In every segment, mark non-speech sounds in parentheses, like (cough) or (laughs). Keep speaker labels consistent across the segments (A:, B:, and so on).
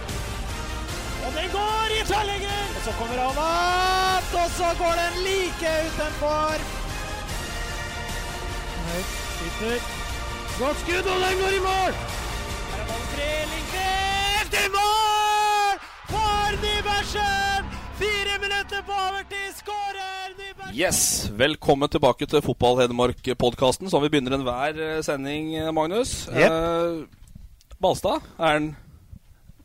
A: Og den går i tverrlegger! Og så kommer han opp, og så går den like utenfor. Høyt skyter. Godt skudd, og den går i mål! Her er ballen fri. Lindqvist i mål! For Nybergsen! Fire minutter på overtid, skårer Nybergsen!
B: Yes, Velkommen tilbake til Fotball-Hedmark-podkasten, som vi begynner enhver eh, sending, eh, Magnus. Eh, Balstad, er den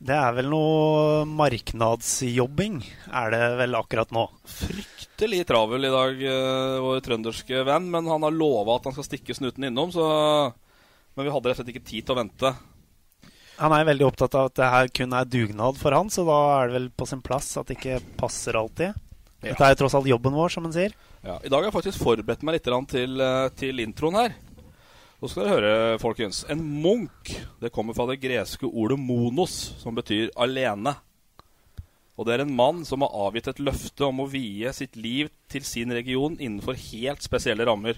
A: Det er vel noe marknadsjobbing, er det vel akkurat nå.
B: fryktelig travel i dag, eh, vår trønderske venn. Men han har lova at han skal stikke snuten innom, så Men vi hadde rett og slett ikke tid til å vente.
A: Han er veldig opptatt av at det her kun er dugnad for han, så da er det vel på sin plass at det ikke passer alltid.
B: Ja.
A: Dette er jo tross alt jobben vår, som han sier.
B: Ja, I dag har jeg faktisk forberedt meg litt grann til, eh, til introen her. Nå skal dere høre, folkens. En munk det kommer fra det greske ordet 'monos', som betyr alene. Og det er en mann som har avgitt et løfte om å vie sitt liv til sin region innenfor helt spesielle rammer.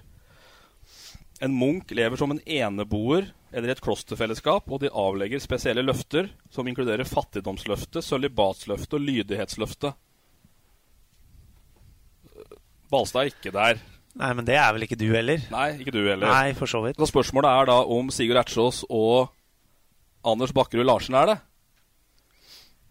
B: En munk lever som en eneboer eller i et klosterfellesskap, og de avlegger spesielle løfter, som inkluderer fattigdomsløftet, sølibatsløftet og lydighetsløftet. Balstad er ikke der.
A: Nei, men det er vel ikke du heller?
B: Nei, ikke du heller.
A: Nei, for så vidt.
B: Så spørsmålet er da om Sigurd Ertsås og Anders Bakkerud Larsen er det.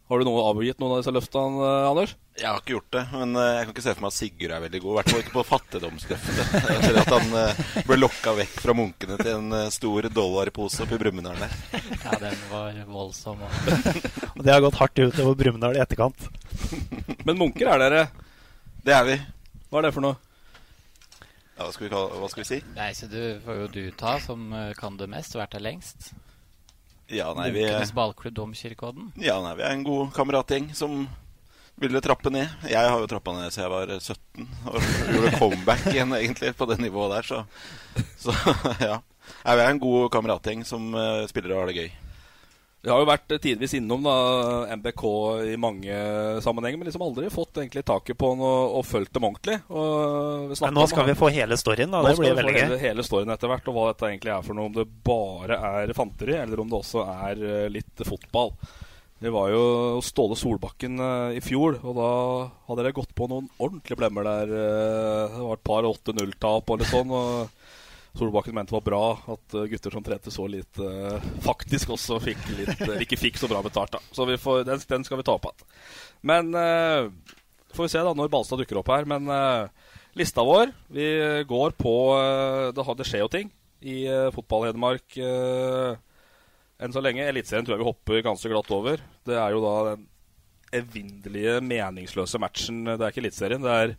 B: Har du noe avgitt noen av disse løftene, eh, Anders?
C: Jeg har ikke gjort det, men eh, jeg kan ikke se for meg at Sigurd er veldig god. I hvert fall ikke på (laughs) fattigdomsløftet. Etter at han eh, ble lokka vekk fra munkene til en eh, stor dollarpose oppi Brumunddal der.
D: (laughs) Ja, den var voldsom.
A: Og det har gått hardt utover Brumunddal i etterkant.
B: Men munker er dere.
C: Det er vi.
B: Hva er det for noe?
C: Ja, hva, skal vi kalle, hva skal vi si?
D: Nei, så du får jo du ta, som eh, kan det mest, vært der lengst.
C: Ja, nei, vi,
D: Munkenes ballklubb Domkirkeodden.
C: ja, nei, vi er en god kameratgjeng som ville trappe ned. Jeg har jo trappa ned siden jeg var eh, 17, og (laughs) gjorde comeback igjen egentlig på det nivået der, så, så (laughs) ja. Nei, vi er en god kameratgjeng som eh, spiller og har det gøy.
B: Vi har jo vært eh, tidvis innom da, MBK i mange sammenhenger, men liksom aldri fått egentlig taket på den og, og fulgt dem ordentlig. Og vi
A: Men
B: snakket
A: nå
B: om-
A: skal vi få hele storyen, da.
B: Nå
A: Det
B: skal
A: blir
B: vi få
A: veldig gøy.
B: hele, hele storyen etter hvert, og hva dette egentlig er for noe. Om det bare er fanteri, eller om det også er eh, litt fotball. Det var jo hos Ståle Solbakken eh, i fjor, og da hadde dere gått på noen ordentlige blemmer der. eh, Det var et par 8-0-tap og litt sånn. og Solbakken mente det var bra at eh, gutter som trente så lite, eh, faktisk også fikk litt, eh, ikke fikk så bra betalt. da. Så vi får, den, den skal vi ta opp igjen. Men eh, får vi se da når Balstad dukker opp her. Men eh, lista vår Vi går på eh, Det, har- det skjer jo ting i eh, fotball-Hedmark eh, enn så lenge. Eliteserien tror jeg vi hopper ganske glatt over. Det er jo da den evinnelige, meningsløse matchen. Det er ikke Eliteserien, det er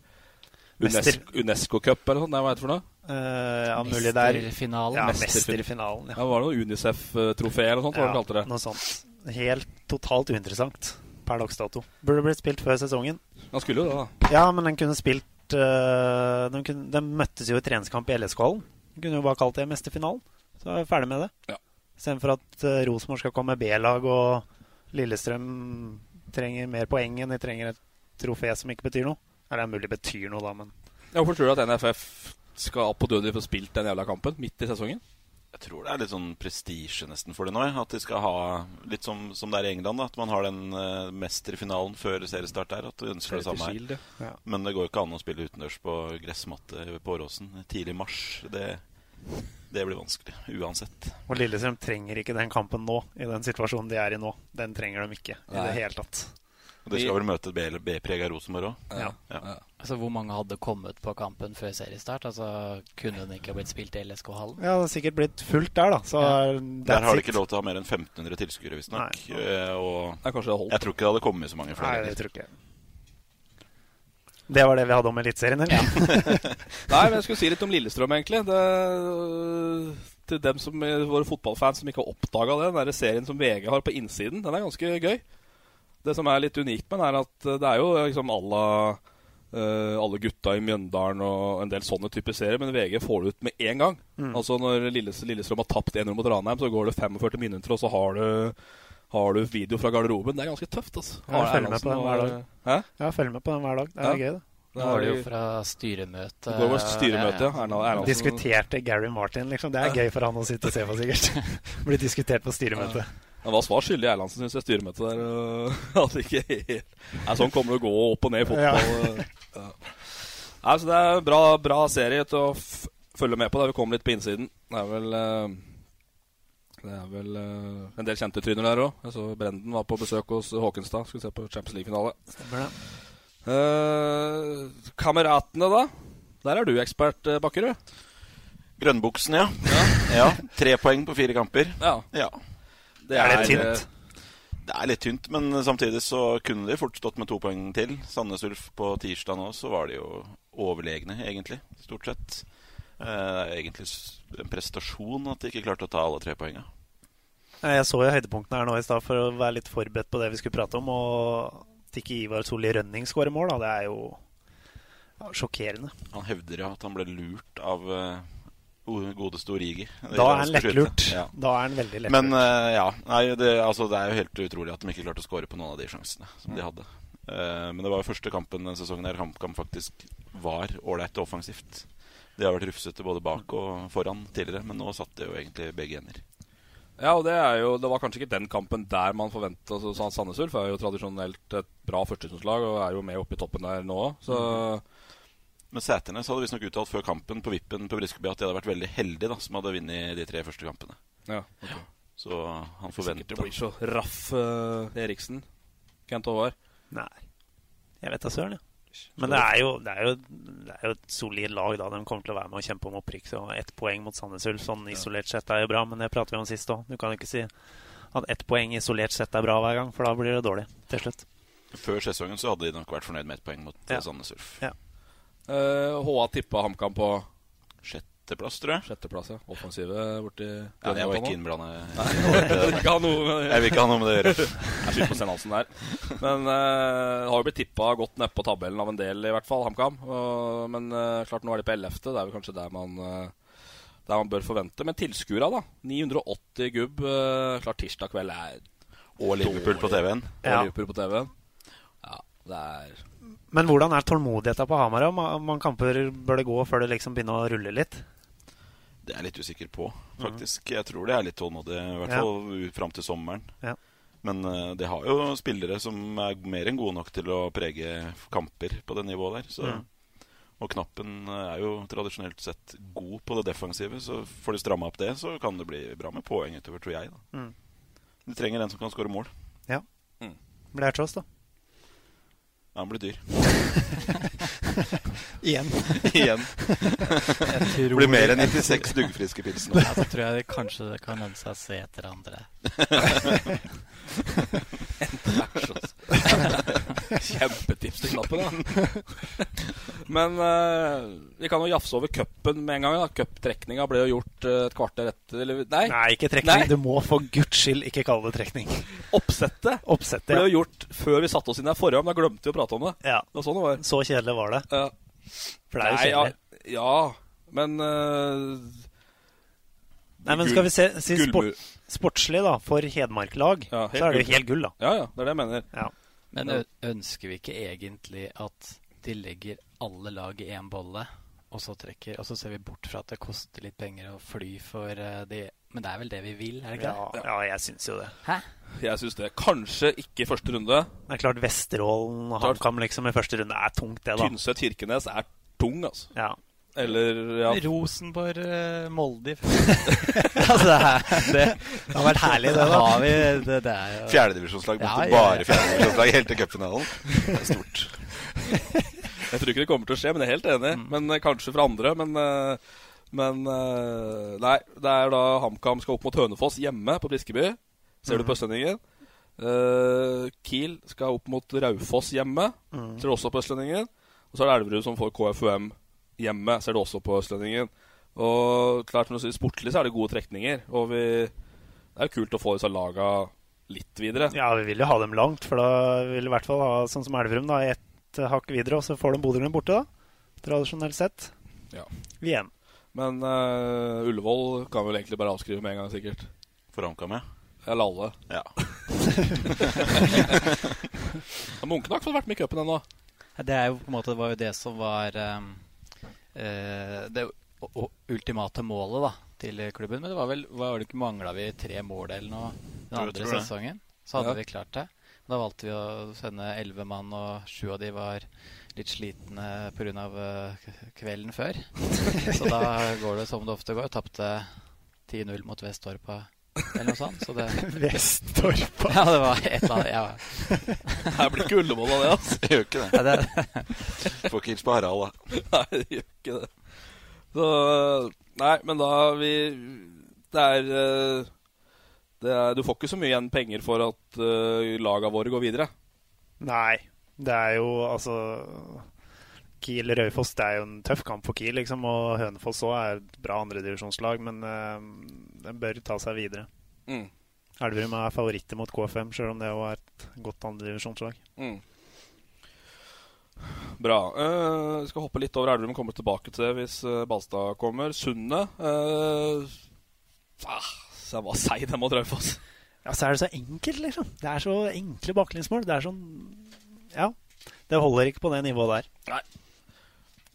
A: Mester-
B: UNESCO- UNESCO-cup eller noe sånt. Nei, Hva heter det for noe?
A: Eh, ja, mulig det er
D: Mesterfinalen.
A: ja,
B: mesterfin-
A: mesterfinalen. Ja.
B: Ja, var det noe Unicef-trofé eller noe sånt? Hva
A: Ja,
B: var det de kalte det?
A: noe sånt. Helt totalt uinteressant per dags dato. Burde blitt spilt før sesongen.
B: Han skulle jo det, da.
A: Ja, men den kunne spilt øh, den, kunne, den møttes jo i treningskamp i LSK-hallen. Den kunne jo bare kalt det mesterfinalen. Så er vi ferdig med det.
B: Ja.
A: Istedenfor at uh, Rosenborg skal komme med B-lag, og Lillestrøm trenger mer poeng enn de trenger et trofé som ikke betyr noe. Eller det er mulig det betyr noe, da, men
B: Ja, Hvorfor tror du at NFF skal på dødelig få spilt den jævla kampen midt i sesongen?
C: Jeg tror det er litt sånn prestisje nesten for det nå. ja. At de skal ha litt som, som det er i England, da, at man har den eh, mesterfinalen før seriestart der. At du ønsker det
B: Til
C: samme her.
B: Kiel, det.
C: Men det går ikke an å spille utendørs på gressmatte på Åråsen tidlig i mars. Det, Det blir vanskelig uansett.
A: Og Lillestrøm trenger ikke den kampen nå, i den situasjonen de er i nå. Den trenger de ikke i
C: Nei.
A: det hele tatt.
C: Og de skal vel møte et B-prega Rosenborg òg?
A: Ja.
D: Altså, hvor mange hadde kommet på kampen før seriestart? Altså, kunne den ikke ha blitt spilt i LSK-hallen?
A: Ja, det har sikkert blitt fullt der, da. Så eh, that's
C: Der har de
A: it.
C: ikke lov til å ha mer enn 1500 tilskuere, visstnok.
A: Nei.
C: Eh, Og jeg tror ikke det hadde kommet så mange flere.
A: Nei, det tror ikke jeg. Det var det vi hadde om Eliteserien, eller?
B: Nei, men jeg skulle si litt om Lillestrøm, egentlig. Det, øh, til dem som øh, våre fotballfans som ikke har oppdaga det, den der serien som VG har på innsiden, den er ganske gøy. Det som er litt unikt med den, er at det er jo liksom alla eh, alle gutta i Mjøndalen og en del sånne typer serier, men VG får det ut med én gang.
E: Mm.
B: Altså Når Lilles, Lillestrøm har tapt 1-0 mot Ranheim, så går det 45 minutter, og så har du, har du video fra garderoben. Det er ganske tøft, altså.
A: Ja, jeg følger
B: Arne
A: med på
B: Erlandsen
A: den hver dag.
B: og- Hæ?
A: Ja, jeg følger med på den hver dag. Det er
B: Ja.
A: gøy, det.
B: Da Nå er det jo
D: Fra styremøte
B: Det går over styremøte, ja. Erna-
A: Altså-
B: Erna-
A: Diskuterte Gary Martin, liksom. Det er gøy for han å sitte og se på, (laughs) sikkert. Blir diskutert på styremøte.
B: Han var svar skyldig Erlandsen, syns jeg, styremøtet der. og (laughs) At det ikke helt Nei, Sånn kommer det å gå opp og ned i fotball. øh, Ja. Nei, så det er en bra, bra serie til å f følge med på. Der vi kommer litt på innsiden. Det er vel eh, Det er vel eh, en del kjente tryner der òg. Jeg så Brenden var på besøk hos Håkenstad. Skulle se på Champions League-finale.
A: Stemmer det.
B: Eh, kameratene, da? Der er du ekspert, eh, Bakkerud.
C: Grønnbuksen, ja. ja. Tre poeng på fire kamper.
B: Ja.
C: Det er, litt tynt. Det er litt tynt, men samtidig så kunne de fort stått med to poeng til. Sandnes Ulf på tirsdag nå, så var de jo overlegne, egentlig. Stort sett. Eh, Det er egentlig s- en prestasjon at de ikke klarte å ta alle tre poenga.
A: Nei, Jeg så jo høydepunktene her nå i stad for å være litt forberedt på det vi skulle prate om. Og at ikke Ivar Solli Rønning skårer mål, da, det er jo ja, sjokkerende.
C: Han hevder jo at han ble lurt av eh, o- godeste Origi. Det
A: Da er han
C: iranske
A: lettlurt.
C: skytteren.
A: Da er han veldig lettlurt.
C: Men eh, ja, nei, det, altså, det er jo helt utrolig at de ikke klarte å skåre på noen av de sjansene som de hadde. Eh, men det var jo første kampen denne sesongen der HamKam faktisk var ålreit og offensivt. De har vært rufsete både bak og foran tidligere, men nå satt det jo egentlig begge ender.
B: Ja, og det er jo Det var kanskje ikke den kampen der man forventa altså, Sa- Sandnes Ulf er jo tradisjonelt et bra førstesynslag og er jo med oppe i toppen der nå òg, så
C: Mhm. Men Sæternes hadde visstnok uttalt før kampen på vippen på Briskeby at de hadde vært veldig heldige da, som hadde vunnet de tre første kampene.
B: Ja,
C: Så han
B: Hvis ikke
C: forventer
B: det blir så raff eh, Eriksen. Kent Håvard.
A: Nei. Jeg vet da søren, jeg. Men det er, jo, det, er jo, det er jo et solid lag, da. De kommer til å være med og kjempe om opprykk. Så ett poeng mot Sandnes Ulf sånn isolert sett er jo bra, men det prater vi om sist òg. Du kan jo ikke si at ett poeng isolert sett er bra hver gang, for da blir det dårlig til slutt.
C: Før sesongen så hadde de nok vært fornøyd med ett poeng mot eh, Sandnes Ulf.
B: Eh, HA tippa HamKam på
C: Sjetteplass, tror jeg.
B: Sjetteplass, ja. Offensive borti
C: Ja, jeg var
B: (laughs) Grønland,
C: ikke innblandet.
B: da. Nei, jeg vil ikke ha noe med det
C: (laughs) Jeg vil ikke ha noe med det å gjøre.
B: Jeg skyter på Sten Hansen der. Men eh, har jo blitt tippa godt nedpå tabellen av en del, i hvert fall, HamKam. Og- Men eh, klart, nå er de på 11. Det er vel kanskje der man eh, der man bør forvente. Men tilskuere, da. 980 gubb. eh, klart tirsdag kveld er
C: Og Liverpool på
B: dårlig.
C: TV-en.
B: Og
A: Ja.
B: Liverpool på TV-en. Ja, det er
A: Men hvordan er tålmodigheten på Hamar? da? Ma- mange kamper bør det gå før det liksom begynner å rulle litt?
C: Det er jeg litt usikker på, faktisk. Jeg tror det er litt tålmodig, i hvert
A: Ja.
C: fall ut fram til sommeren.
A: Ja.
C: Men eh, de har jo spillere som er mer enn gode nok til å prege kamper på det nivået der. Så.
A: Mhm.
C: Og Knappen eh, er jo tradisjonelt sett god på det defensive, så får de stramma opp det, så kan det bli bra med poeng utover, tror jeg. Da.
A: Mhm.
C: De trenger en som kan skåre mål.
A: Ja.
C: Mm.
A: Blir det til oss, da?
C: Han blir dyr.
A: Igjen.
C: (laughs) Igjen.
D: Jeg tror-
C: Blir mer enn 96 duggfriske pilsner.
D: Ja, så tror jeg det kanskje det kan lønne seg å se etter andre.
B: (laughs) Kjempetips til knappen, da. (laughs) Men eh, vi kan jo jafse over cupen med en gang. da Cuptrekninga ble jo gjort eh, et kvarter etter eller, Nei,
A: Nei, ikke trekning.
B: Nei.
A: Du må for guds skyld ikke kalle det trekning.
B: Oppsettet.
A: Oppsettet,
B: ble
A: ja.
B: jo gjort før vi satte oss inn her forrige gang. Da glemte vi å prate om det.
A: Ja.
B: Det var sånn det var.
A: Så kjedelig var det. For det er jo
B: Nei,
A: kjedelig.
B: Ja, ja men eh,
A: Nei, men
B: gull-
A: skal vi se, si
B: gullmu-
A: sport, sportslig, da, for Hedmark-lag,
B: Ja, helt
A: så er det jo
B: gull.
A: helt gull, da.
B: Ja, ja, det er det jeg mener.
D: Men ø- ønsker vi ikke egentlig at de legger alle lag i én bolle, og så trekker Og så ser vi bort fra at det koster litt penger å fly for eh, de Men det er vel det vi vil, er det ikke det?
A: Ja, jeg syns jo det.
D: Hæ?
B: Jeg syns det. Kanskje ikke i første runde.
A: Det er klart Vesterålen og HamKam liksom i første runde er tungt, det, da.
B: Tynset-Kirkenes er tung, altså.
A: Ja.
B: Eller ja.
D: Rosenborg, eh, (laughs) Molde Altså, det, er, det, det har vært herlig, det. da har vi, det, det er jo
C: Fjerdedivisjonslag mot bare fjerdedivisjonslag helt til cupfinalen. Det er stort.
B: Jeg tror ikke det kommer til å skje, men jeg er helt enig. Men eh, Kanskje fra andre. Men, eh, men eh, Nei, det er da HamKam skal opp mot Hønefoss hjemme på Briskeby. Ser du på Østlendingen? Eh, Kiel skal opp mot Raufoss hjemme.
A: Mhm.
B: Ser du også på Østlendingen? Og så er det Elverud som får KFUM hjemme. Ser du også på Østlendingen. Og klart når du sier sportlig, så er det gode trekninger. Og vi, det er jo kult å få disse laga litt videre.
A: Ja, vi vil jo ha dem langt, for da vil vi i hvert fall ha sånn som Elverum, da, ett eh, hakk videre, og så får de Bodø-Glimt borte, da. Tradisjonelt sett.
B: Ja.
A: Igjen.
B: Men eh, Ullevål kan vel egentlig bare avskrive med en gang, sikkert.
C: For HamKam, ja?
B: Eller alle.
C: Ja.
B: Munkene har ikke fått vært med i cupen ennå.
D: Ja, Det er jo på en måte det var jo det som var ehm, eh, det o- o- ultimate målet da, til klubben. Men det var vel var det ikke mangla vi tre mål eller noe den
F: Jo, jeg
D: andre
F: tror det.
D: sesongen? Så hadde
F: Ja.
D: vi klart det. Da valgte vi å sende elleve mann, og sju av de var litt slitne pga. eh,
F: (laughs)
D: kvelden før. Så da går det som det ofte går. Tapte 10-0 mot Vestorpa eller noe sånt. Så det
F: (laughs)
A: Vestorpa.
D: Ja, det var et eller annet. Ja.
B: Her blir ikke Ullevål av (laughs) det, altså.
C: (laughs) Det gjør ikke
D: Nei,
C: det. Får ikke hilse på Harald, da.
B: (laughs) Nei, det gjør ikke det. Så eh, Nei, men da vi Det er eh, det er, du får ikke så mye igjen penger for at uh, laga våre går videre.
A: Nei. Det er jo altså Kiel-Raufoss det er jo en tøff kamp for Kiel, liksom. Og Hønefoss òg er et bra andredivisjonslag, men eh, den bør ta seg videre.
B: Mm.
A: Elverum er favoritter mot KFM, sjøl om det òg er et godt andredivisjonslag.
B: Mm. Bra. Eh, skal hoppe litt over Elverum og komme tilbake til det hvis eh, Balstad kommer. Sundet eh, ah, så Hva sier de mot Raufoss?
A: Ja, så er det så enkelt, liksom. Det er så enkle baklengsmål. Det er sånn Ja. Det holder ikke på det nivået der.
B: Nei.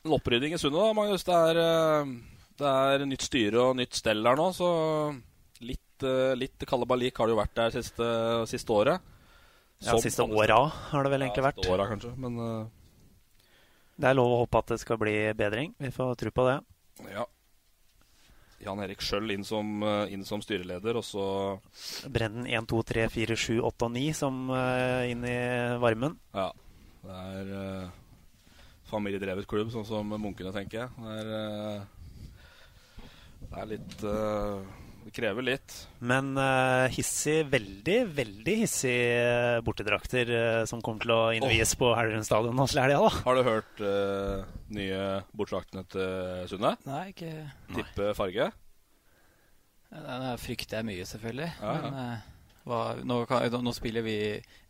B: En opprydding i Sundet, da, Magnus. Det er, eh, det er nytt styre og nytt stell her nå, så litt, eh, litt kalabalik har det jo vært der siste, siste året.
A: Ja, siste åra har det vel egentlig vært.
B: Ja, siste åra kanskje, men eh,
A: Det er lov å håpe at det skal bli bedring. Vi får tro på det.
B: ja. Jan Erik Schjøll inn, som, eh, inn som styreleder, og så
A: Brennen 1, 2, 3, 4, 7, 8 og 9 som eh, inn i varmen.
B: Ja. Det er eh, familiedrevet klubb, sånn som munkene tenker jeg. Det er, eh, det er litt eh, Det krever litt.
A: Men eh, hissig, veldig, veldig hissig eh, bortedrakter eh, som kommer til å innvies på Elverum stadion nå til helga, da.
B: Har du hørt eh, nye bortdraktene til Sunne?
D: Nei, ikke-
B: Tippe farge?
D: Ja, Nei, det frykter jeg mye, selvfølgelig.
B: Ja, ja.
D: Men eh, hva, nå, kan, nå spiller vi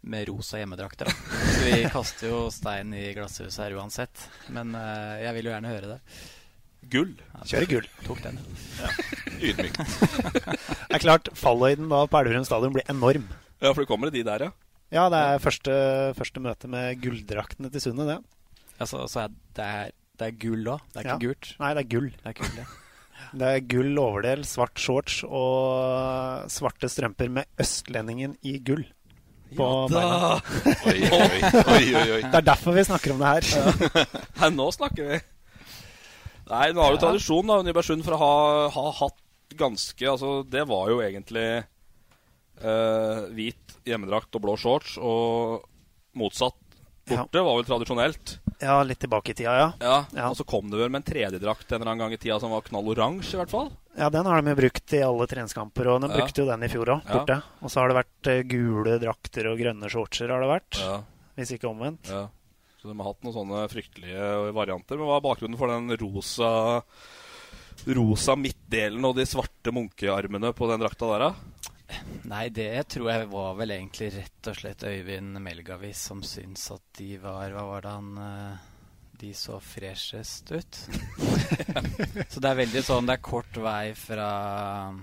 D: med rosa hjemmedrakter, da. Så
B: (laughs)
D: vi kaster jo stein i glasshuset her uansett. Men eh, jeg vil jo gjerne høre det.
B: Gull.
A: Kjører gull.
D: Tok den,
A: Ja.
B: (laughs) Ydmykt.
A: Det er klart, fallhøyden da på Elverum stadion blir enorm.
B: (laughs) Ja, for det kommer de der, ja.
A: Ja, det er første, første møte med gulldraktene til Sunne, det.
D: Altså, så er det, er, det er gull òg. Det er
A: Ja.
D: ikke gult.
A: Nei, det er gull.
D: Det er gull, ja.
A: Det er gull overdel, svart shorts og svarte strømper med Østlendingen i gull. På
B: Ja da!
A: beina.
B: (laughs) Oi, oi, oi, oi, oi.
A: Det er derfor vi snakker om det her.
B: Nei, nå snakker vi! Nei, nå har jo
A: Ja.
B: tradisjon da, Nybergsund for å ha, ha hatt ganske Altså, det var jo egentlig eh, hvit hjemmedrakt og blå shorts, og motsatt borte var vel tradisjonelt.
A: Ja, litt tilbake i tida, ja.
B: Ja, Og så kom det vel med en tredjedrakt en eller annen gang i tida som var knalloransje, i hvert fall.
A: Ja, den har de jo brukt i alle treningskamper, og de
B: Ja.
A: brukte jo den i fjor òg,
B: Ja.
A: borte. Og så har det vært eh, gule drakter og grønne shortser, har det vært.
B: Ja.
A: Hvis ikke omvendt.
B: Ja. Så de har hatt noen sånne fryktelige varianter. Men hva er bakgrunnen for den rosa Rosa midtdelen og de svarte munkearmene på den drakta der, da?
D: Nei, det tror jeg var vel egentlig rett og slett Øyvind Melgavis som syntes at de var Hva var det han eh, De så freshest ut. (laughs) så det er veldig sånn Det er kort vei fra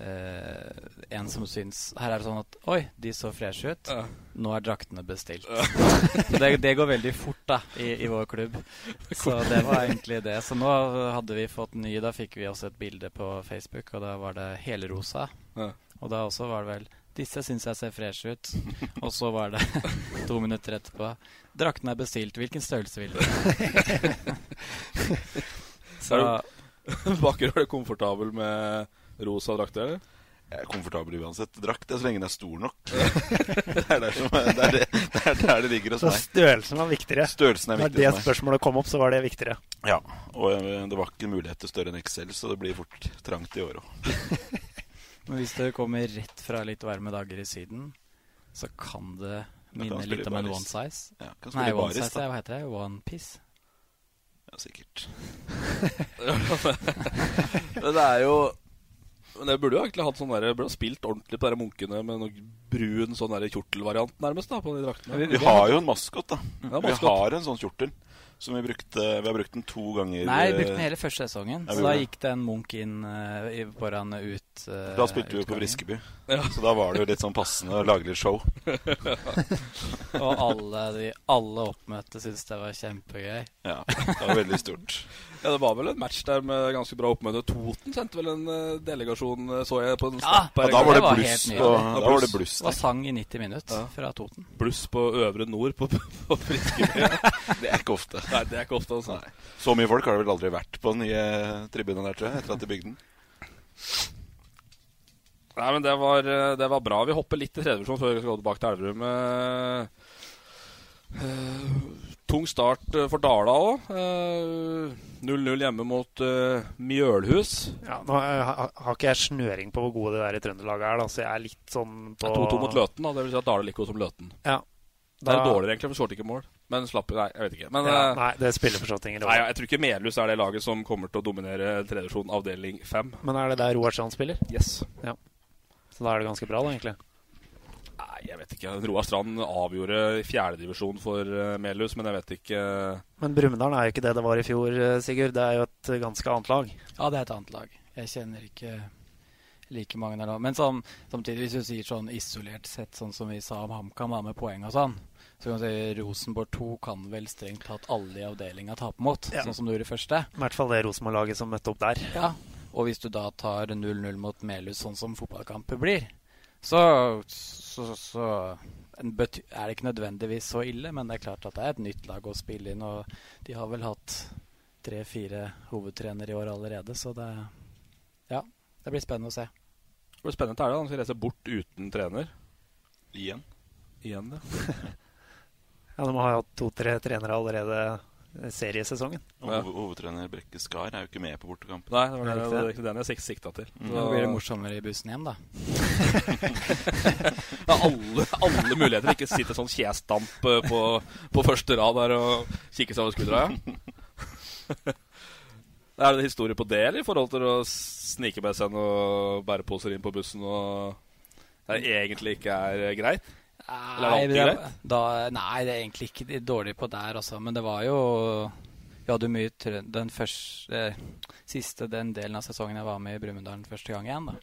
D: eh, en som syns Her er det sånn at Oi, de så freshe ut. Nå er draktene bestilt. (laughs) Så det, det går veldig fort da i, i vår klubb. Så det var egentlig det. Så nå hadde vi fått ny. Da fikk vi også et bilde på Facebook, og da var det helrosa.
B: Ja.
D: Og da også var det vel Disse syns jeg ser fresh
C: (laughs)
D: ut. Og så var det (laughs) to minutter etterpå. Drakten er bestilt. Hvilken størrelse
C: (laughs)
D: vil du?
B: Så er du, Baker, er du komfortabel med rosa drakt, eller?
C: Jeg er komfortabel uansett drakt, det er så lenge den er stor nok. (laughs) det er der, som, det, er det, det, er der det ligger hos
A: Så
C: meg.
A: størrelsen var viktigere.
C: Størrelsen er
A: Når
C: viktig
A: det
C: for meg.
A: spørsmålet kom opp, så var det viktigere.
C: Ja, og eh, det var ikke mulighet til større enn XL, så det blir fort trangt i år òg.
D: Men hvis du kommer rett fra litt varme dager i Syden, så kan det
C: Da kan
D: minne
C: han spille
D: litt om en
C: baris.
D: one size.
C: Ja, kan spille
D: Nei, one
C: baris,
D: size,
C: da.
D: ja, hva heter det? One piece?
C: Ja, sikkert.
B: (laughs) men det er jo men jeg burde jo egentlig hatt sånn der, jeg burde ha spilt ordentlig på de der munkene med noen brun sånn der kjortelvariant, nærmest, da, på de draktene.
C: Vi har jo en maskot, da.
B: Ja,
C: vi
B: maskot. (laughs)
C: har en sånn kjortel. Som vi brukte Vi har brukt den to ganger.
D: Nei, vi brukte den
C: eh,
D: hele første sesongen.
C: ja, vi
D: så da
C: gjorde det.
D: gikk det en munk inn eh, i- foran ut eh,
C: Da spilte vi på
D: utgangen.
C: Briskeby, så da var det jo litt sånn passende å lage litt show.
D: (laughs) Og alle, de, alle oppmøtte syntes det var kjempegøy.
C: Ja, (laughs) det var veldig stort.
B: Ja, Det var vel en match der med ganske bra oppmøte. Toten sendte vel en eh, delegasjon, eh, så jeg på en snap her en
C: da
B: gang.
C: var det bluss på- da var det bluss
D: Og sang i 90 minutter
B: Ja.
D: fra Toten.
B: Bluss på Øvre Nord på, (laughs) på Briskeby.
C: Det er ikke ofte.
B: Nei, det er ikke ofte, altså.
C: Så mye folk har det vel aldri vært på den nye tribunen der, tror jeg, etter at de bygde den.
B: Nei, men det var, eh, det var bra. Vi hopper litt til tredjevisjon før vi skal gå tilbake til Elverum. Eh, eh, tung start eh, for Dala òg. 0-0 hjemme mot eh, Mjølhus.
A: Ja, nå eh, ha- har ikke jeg snøring på hvor gode det der i Trøndelag er, da, så jeg er litt sånn
B: Det
A: på
B: er 2-2 mot Løten, da. Det vil si at Dale liker oss som Løten.
A: Ja.
B: Det er
A: Da-
B: dårligere, egentlig, for vi skåret ikke mål. Men slapp Nei, jeg vet ikke. Men,
A: ja,
B: eh,
A: nei, det spiller for så vidt ingen
B: Nei,
A: rolle.
B: jeg tror ikke Melhus er det laget som kommer til å dominere tredjevisjon avdeling fem.
A: Men er det der Roar Strand spiller?
B: Yes.
A: Ja. Så da er det ganske bra, da, egentlig.
B: Nei, jeg vet ikke. Roar Strand avgjorde i fjerdedivisjon for eh, Melhus, men jeg vet ikke
A: Men Brumunddal er jo ikke det det var i fjor, eh, Sigurd. Det er jo et eh, ganske annet lag.
D: Ja, det er et annet lag. Jeg kjenner ikke like mange der nå. Men som, samtidig, hvis du sier sånn isolert sett, sånn som vi sa om HamKam, da, med poeng og sånn, så kan du si Rosenborg 2 kan vel strengt tatt alle i avdelinga tape mot,
A: Ja.
D: sånn som du gjorde i første.
A: I hvert fall det Rosenborg-laget som møtte opp der.
D: Ja. Og hvis du da tar 0-0 mot Melhus, sånn som fotballkamper blir, så, så, så en bety- er det ikke nødvendigvis så ille. Men det er klart at det er et nytt lag å spille inn, og de har vel hatt tre-fire hovedtrenere i år allerede, så det Ja. Det blir spennende å se.
B: Det blir spennende å telle. Han skal reise bort uten trener.
C: Igjen.
B: Igjen, ja.
A: Ja, De har jo hatt to-tre trenere allerede eh, seriesesongen.
C: Og hov- Hovedtrener Brekke Skar er jo ikke med på bortekamp.
B: Nei, det var, det, det var ikke den jeg sik- sikta til.
C: Mm.
D: Nå blir det morsommere i bussen hjem, da.
B: Ja, alle, alle muligheter. Ikke sitte sånn kjestamp eh, på, på første rad der og kikke seg over skuldra. Ja. (laughs) Er det historie på det, eller i forhold til å snike med seg noen bæreposer inn på bussen og det egentlig ikke er greit? Eller er det alltid
D: det-
B: greit?
D: Da, nei, det er egentlig ikke de- dårlig på der, altså. Men det var jo Vi hadde jo mye trø- Den første, eh, siste den delen av sesongen jeg var med i Brumunddal første gang igjen, da.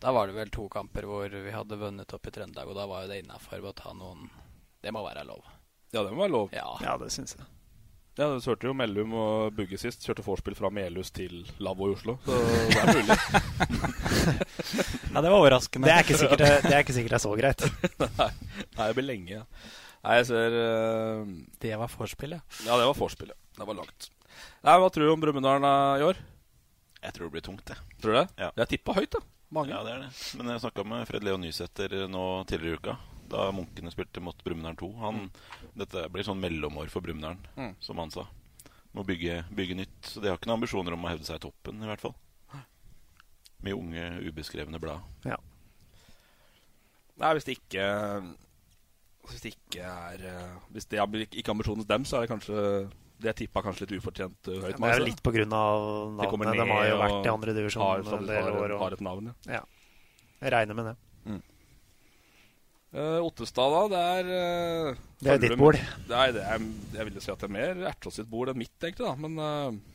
D: Da var det vel to kamper hvor vi hadde vunnet opp i Trøndelag, og da var jo det innafor å ta noen Det må være lov.
B: Ja, det må være lov.
D: Ja.
A: Ja, det syns jeg.
B: Ja, Du hørte jo Mellum og Bugge sist. Kjørte vorspiel fra Melhus til Lavvo i Oslo. Så det er
A: (laughs)
B: mulig.
D: Ja, det var overraskende.
A: Det er ikke sikkert det, det er, ikke sikkert det er så (laughs) greit.
B: Nei, nei, det blir lenge. ja. Nei, jeg ser eh,
D: Det var vorspielet.
B: Ja, det var vorspielet. Det var langt. Nei, Hva tror du om Brumunddal eh, i år?
C: Jeg tror det blir tungt, jeg.
B: Tror du det?
C: Ja.
B: Jeg tippa høyt, da. Mange.
C: Ja, det er det. Men jeg snakka med Fred Leo Nysæter nå tidligere i uka, da Munkene spilte mot Brumunddal 2. Han, Dette blir sånn mellomår for Brumunddal,
B: Mm.
C: som han sa. Må bygge, bygge nytt. Så de har ikke noen ambisjoner om å hevde seg i toppen, i hvert fall. Mye unge, ubeskrevne blad.
A: Ja.
B: Nei, hvis det ikke Hvis det ikke er eh, Hvis det er ikke ambisjonen hos dem, så er det kanskje Det jeg tippa kanskje litt ufortjent eh, høyt.
A: Det er jo litt på grunn av
B: De kommer
A: navnet. De har jo
B: ned og
A: vært i andre
B: har-
A: divisjon
B: som
A: en
B: du
A: del
B: har-
A: år.
B: Har
A: Og,
B: et navn, ja.
A: ja. Jeg regner med det.
B: Eh, Ottestad, da. Det er eh,
A: Det er
B: følger
A: ditt
B: du med-
A: bord.
B: Nei, det er, jeg vil jo si at det er mer Ertås sitt bord enn mitt, egentlig. da Men eh,
D: (laughs)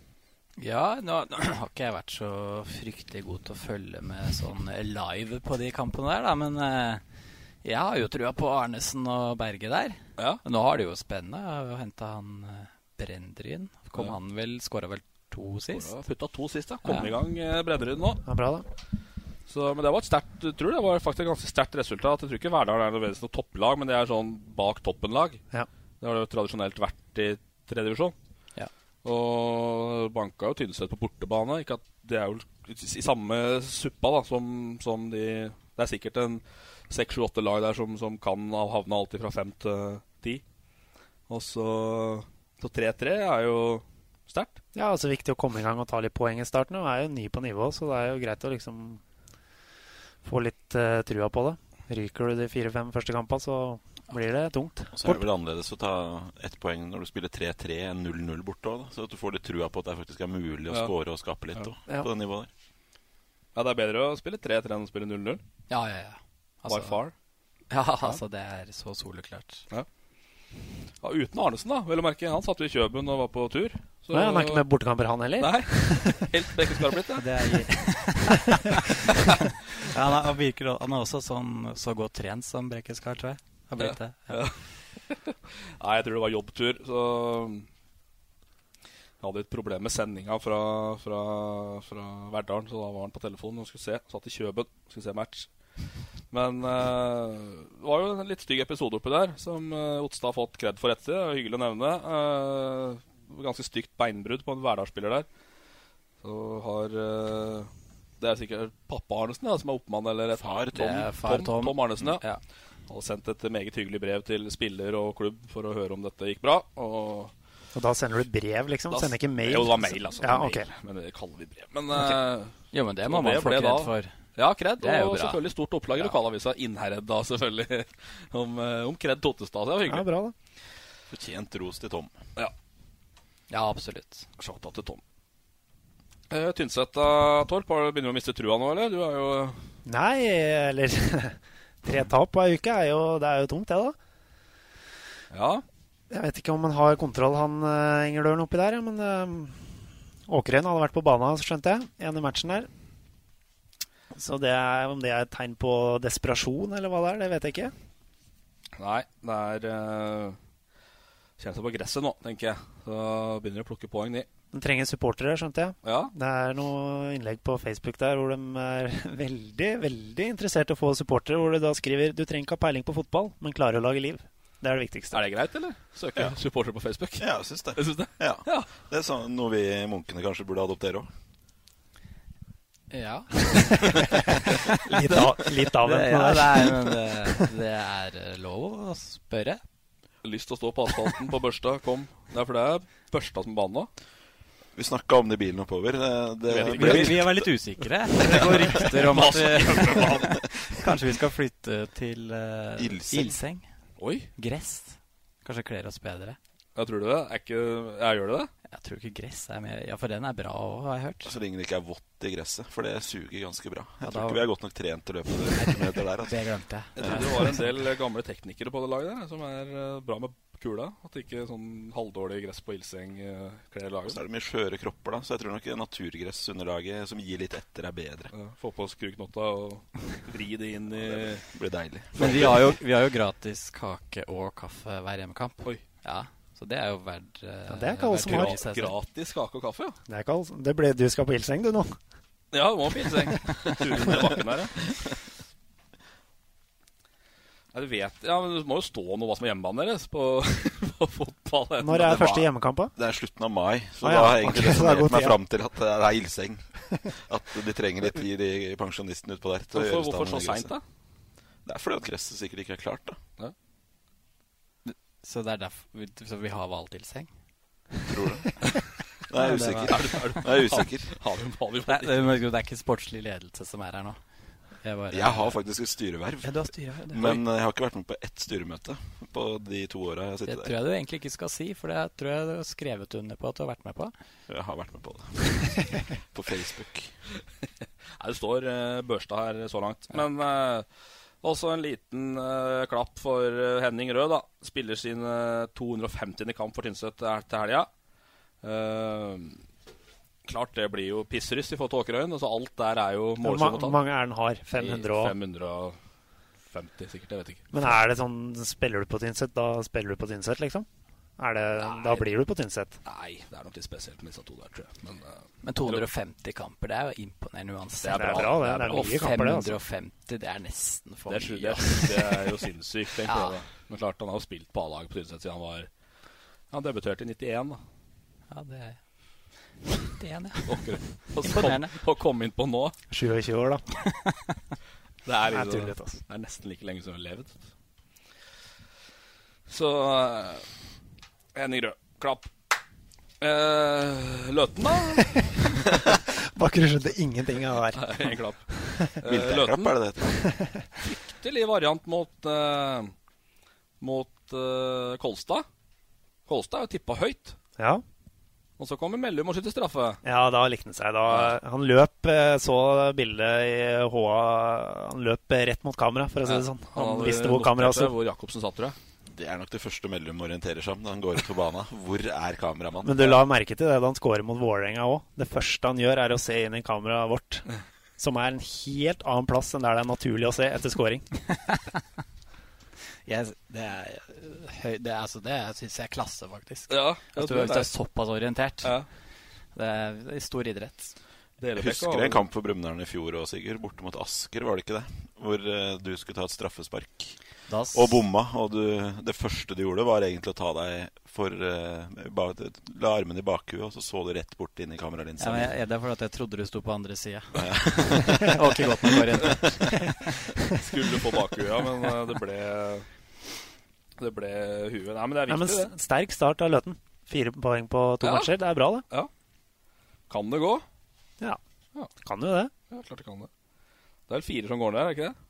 D: Ja, nå, nå har ikke jeg vært så fryktelig god til å følge med sånn live på de kampene der, da, men eh, jeg har jo trua på Arnesen og Berge der.
B: ja.
D: Nå har det jo spennende. Jeg har jo henta han eh, Brendryn. Kom
B: Ja.
D: han vel Skåra vel to sist?
B: Putta to sist, da. Kom
D: Ja.
B: i gang, eh, Brennerud nå.
A: Ja, bra, da.
B: Så, men det var et sterkt, jeg tror det var faktisk et ganske sterkt resultat. Jeg tror ikke Verdal er nødvendigvis noe topplag, men det er sånn bak toppen-lag. Det har det jo tradisjonelt vært i tredje divisjon.
D: Ja.
B: Og banka jo Tynset på bortebane. Ikke at det er jo i samme suppa da, som, som de Det er sikkert en seks, sju, åtte lag der som, som kan havne alltid fra fem til ti. Og så Så 3-3 er jo sterkt.
A: Ja, altså viktig å komme i gang og ta litt poeng i starten. Og er jo ny på nivå, så det er jo greit å liksom få litt eh, trua på det. Ryker du de fire-fem første kampene, så blir det tungt.
C: Så er det vel annerledes å ta ett poeng når du spiller 3-3 enn 0-0 borte òg, så at du får litt trua på at det faktisk er mulig å
B: Ja.
C: score og skape litt
B: Ja.
C: også,
B: Ja.
C: på det nivået der.
B: Ja, det er bedre å spille 3-3 enn å spille 0-0.
D: Ja, ja, ja.
A: Altså-
B: By far.
D: (laughs) Ja, altså, det er så soleklart.
B: Ja. Ja, uten Arnesen, da. Vel å merke. Han satt jo i Kjøben og var på tur. Så-
A: Nei, han er ikke med bortekamper, han heller?
B: Nei. (laughs) Helt bekkeskarp blitt, det.
A: (laughs) Det
D: (laughs) Ja, han, er, han, virker, han er også sånn, så godt trent som Brekkeskar, tror jeg. Har blitt det.
B: Ja. Nei, jeg tror det var jobbtur, så jeg hadde et problem med sendinga fra, fra, fra Verdalen, så da var han på telefonen og skulle se. Satt i Kjøben, skulle se match. Men eh, det var jo en litt stygg episode oppi der, som eh, Otstad har fått kred for etter. Det er Hyggelig å nevne. Eh, ganske stygt beinbrudd på en Verdalsspiller der. Så har eh, Det er sikkert pappa Arnesen ja, som er oppmann, eller et
C: Far
D: Tom. Det er far
B: Tom,
D: Tom.
B: Tom Arnesen, ja.
D: Ja.
B: Han hadde sendt et meget hyggelig brev til spiller og klubb for å høre om dette gikk bra. Og
A: Og da sender du brev, liksom?
B: da-
A: Sender ikke mail?
B: Jo, det var mail, altså.
A: Ja,
B: Mail.
A: ok.
B: Men det kaller vi brev. Men,
A: Ok.
B: eh,
D: Jo, men det
B: så
D: må man få
B: ble
D: kred
B: da-
D: for.
B: Ja, kred.
D: Det er jo
B: Og
D: bra.
B: selvfølgelig stort opplag i
D: Ja.
B: lokalavisa Innherred, da, selvfølgelig. (laughs) Om, eh, om kred Tottestad. Det var hyggelig.
A: Ja, bra, da.
C: Fortjent ros til Tom.
B: Ja.
D: Ja, absolutt.
B: Shout out til Tom. Eh, Tynset, eh, Torp, har- begynner du å miste trua nå, eller? Du er jo
A: Nei, eller (laughs) Tre tap på ei uke er jo, det er jo tungt, det, da.
B: Ja.
A: Jeg vet ikke om han har kontroll, han eh, Ingeløren oppi der, ja, men eh, Åkerøyen hadde vært på banen, skjønte jeg, ene matchen der. Så det er, om det er et tegn på desperasjon, eller hva det er, det vet jeg ikke.
B: Nei, det er eh, Kjenner seg på gresset nå, tenker jeg. Så begynner de å plukke poeng, de.
A: De trenger supportere, skjønte jeg.
B: Ja.
A: Det er noe innlegg på Facebook der hvor de er (laughs) veldig, veldig interessert i å få supportere, hvor de da skriver 'Du trenger ikke ha peiling på fotball, men klarer å lage liv'. Det er det viktigste.
B: Er det greit, eller? Søke
C: Ja.
B: supportere på Facebook? (laughs)
C: Ja, jeg syns det.
B: Jeg syns det?
C: Ja. Det er sånn, noe vi munkene kanskje burde adoptere òg.
D: Ja.
C: Litt av- litt
A: (laughs)
C: avventende
D: (laughs) Ja,
C: der.
D: det er, men det, det er eh, lov å spørre.
B: Lyst til å stå på asfalten på børsta, kom. Det er for det er børsta som banen nå.
C: Vi snakka om det i bilen oppover. Det, det
B: Vi vet ikke.
C: ble-
B: Vi- vi er
D: Vi er litt usikre. Det går rykter om at vi, (laughs) Kanskje vi skal flytte til eh,
B: Ildseng.
D: Ildseng.
B: Oi.
D: Gress. Kanskje kler oss bedre.
B: Jeg tror du det. Er ikke Jeg gjør det det?
D: Jeg tror ikke gress er med Ja, for den er bra òg, har jeg hørt.
C: Så lenge det ikke er vått i gresset, for det suger ganske bra.
D: Ja,
C: Jeg tror
D: da-
C: ikke vi er godt nok trent til å løpe det meter der. Altså.
D: Det glemte jeg.
B: Jeg trodde det var en del gamle teknikere på det laget der som er eh, bra med kula. At ikke sånn halvdårlig gress på ildseng eh, kler
C: Og
B: laget.
C: så er det mye skjøre kropper, da, så jeg tror nok naturgressunderlaget som gir litt etter, er bedre.
B: Ja, Eh, Få på skruknotta og vri det inn i Det
C: blir deilig.
D: Men
B: (laughs)
D: vi har, jo, vi har jo gratis kake og kaffe hver hjemmekamp. Ja, Så det er jo verdt
A: Ja, det er ikke alle som har.
B: Gratis kake og kaffe, ja.
A: Det er ikke alt. Det ble, du skal på ildseng, du nå.
B: Ja, det må på ildseng. (laughs) Turen til bakken her, ja. Ja, du vet, ja, men du må jo stå nå hva som er hjemmebanen deres på, (laughs) på fotball.
A: Når er første hjemmekamp, da?
C: Det er slutten av mai,
A: Ah,
C: så da
A: ja.
C: har jeg egentlig
A: Ok, så det er
C: resonnert
A: god
C: meg
A: tid, ja.
C: fram til at det er ildseng. At de trenger litt tid, de pensjonistene utpå der. til å
B: Hvorfor-
C: gjøre stand
B: hvorfor så
C: med
B: sent,
C: gresset.
B: da?
C: Det er fordi at gresset sikkert ikke er klart, da.
D: Så det er derfor vi, Så vi har valgt ildseng?
C: Tror du? Nei, jeg er usikker. Nei, jeg er usikker.
B: Har vi, har vi
D: Nei, det, men det er ikke sportslig ledelse som er her nå. Jeg, bare,
C: Jeg har faktisk et styreverv,
D: Ja, du har styreverv, det.
C: men jeg har ikke vært med på ett styremøte på de to åra jeg har
D: Det
C: sittet
D: tror
C: der.
D: jeg du egentlig ikke skal si, for det tror jeg du har skrevet under på at du har vært med på.
C: Jeg har vært med på
D: (laughs)
C: det. På Facebook.
B: Nei, det står eh, Børstad her så langt. Men eh, også en liten eh, klapp for eh, Henning Rød, da. Spiller sin eh, 250. kamp for Tynset her til helga. Eh, klart det blir jo pissryss i forhold til Åkerøyen. Altså, alt der er jo
A: Hvor
B: målsomme tall.
A: mange er den har? 500 og
B: 550, sikkert. Jeg vet ikke.
A: Men er det sånn Spiller du på Tynset, da spiller du på Tynset, liksom? Er det, da blir du på Tynset.
B: Nei, det er nok litt spesielt med disse to der, tror jeg. Men, eh,
D: Men 250 kamper, det er jo imponerende uansett.
B: Det er bra, det. Det er mye kamper, det, altså.
D: Og 550, det er nesten for
B: det, er, sju- det,
D: mye.
B: er,
D: ass.
B: det er jo sinnssykt.
D: (laughs)
B: Tenk
D: Ja.
B: på det. Men klart, han har jo spilt på A-laget på Tynset siden han var Han debuterte
D: (laughs)
B: i 91, da.
D: Ja, det er Det (laughs) er han, ja.
B: Akkurat. Og så kom,
D: Imponerende.
B: og kom inn på nå.
A: 27 (laughs) år, da. Det
B: Det er,
A: er
B: liksom,
A: tullete, altså. ass.
B: det er nesten like lenge som hun har levd. Så eh, Henning Rød, klapp. Eh, Løten, da? (laughs)
A: Bakker skjønte ingenting av det
B: Nei,
A: der.
B: en klapp. Eh, Løten. Fryktelig variant mot, eh, mot eh, Kolstad. Kolstad er jo tippa høyt.
A: Ja.
B: Og så kommer Mellum og skyter straffe.
A: Ja, da likte han seg. Da, han løp eh, så bildet i HA Han løp eh, rett mot kamera, for å si det sånn. Han
C: hadde
A: visste hvor
C: notert
A: kameraet
C: seg
A: sto.
B: Hvor Jacobsen satt, tror
C: jeg. Det er nok det første Mellum orienterer seg om når han går ut på bana. Hvor er kameramannen?
A: Men du la merke til det da han scorer mot Vålerenga òg. Det første han gjør, er å se inn i kameraet vårt. Som er en helt annen plass enn der det er naturlig å se etter scoring.
D: Jeg, det er, høy, det er, altså, det syns jeg er klasse, faktisk.
B: Ja,
D: At du
B: jeg tror
D: hvis du
B: det
D: er
B: er.
D: såpass orientert.
B: Ja.
D: Det er det er stor idrett.
C: Jeg husker en kamp for Brumunddal i fjor òg, Sigurd. Borte mot Asker, var det ikke det? Hvor eh, du skulle ta et straffespark
D: Da s-
C: og bomma. Og du, det første du gjorde, var egentlig å ta deg for eh, ba, La armen i bakhuet, og så så du rett bort inn i kameralinsa.
D: Ja, men jeg, det er fordi at jeg trodde du sto på andre sida. (laughs) Jeg var ikke godt nok orientert.
B: Skulle få bakhuet, ja, men eh, det ble Det ble huet. Nei, men det er
A: Nei, men
B: viktig,
A: s- Sterk start av Løten. Fire poeng på to
B: Ja.
A: matcher. Det er bra, det.
B: det. Ja. Kan det gå?
A: Ja. Kan jo det.
B: Ja, klart det kan det. Det er vel fire som går ned, er det ikke det?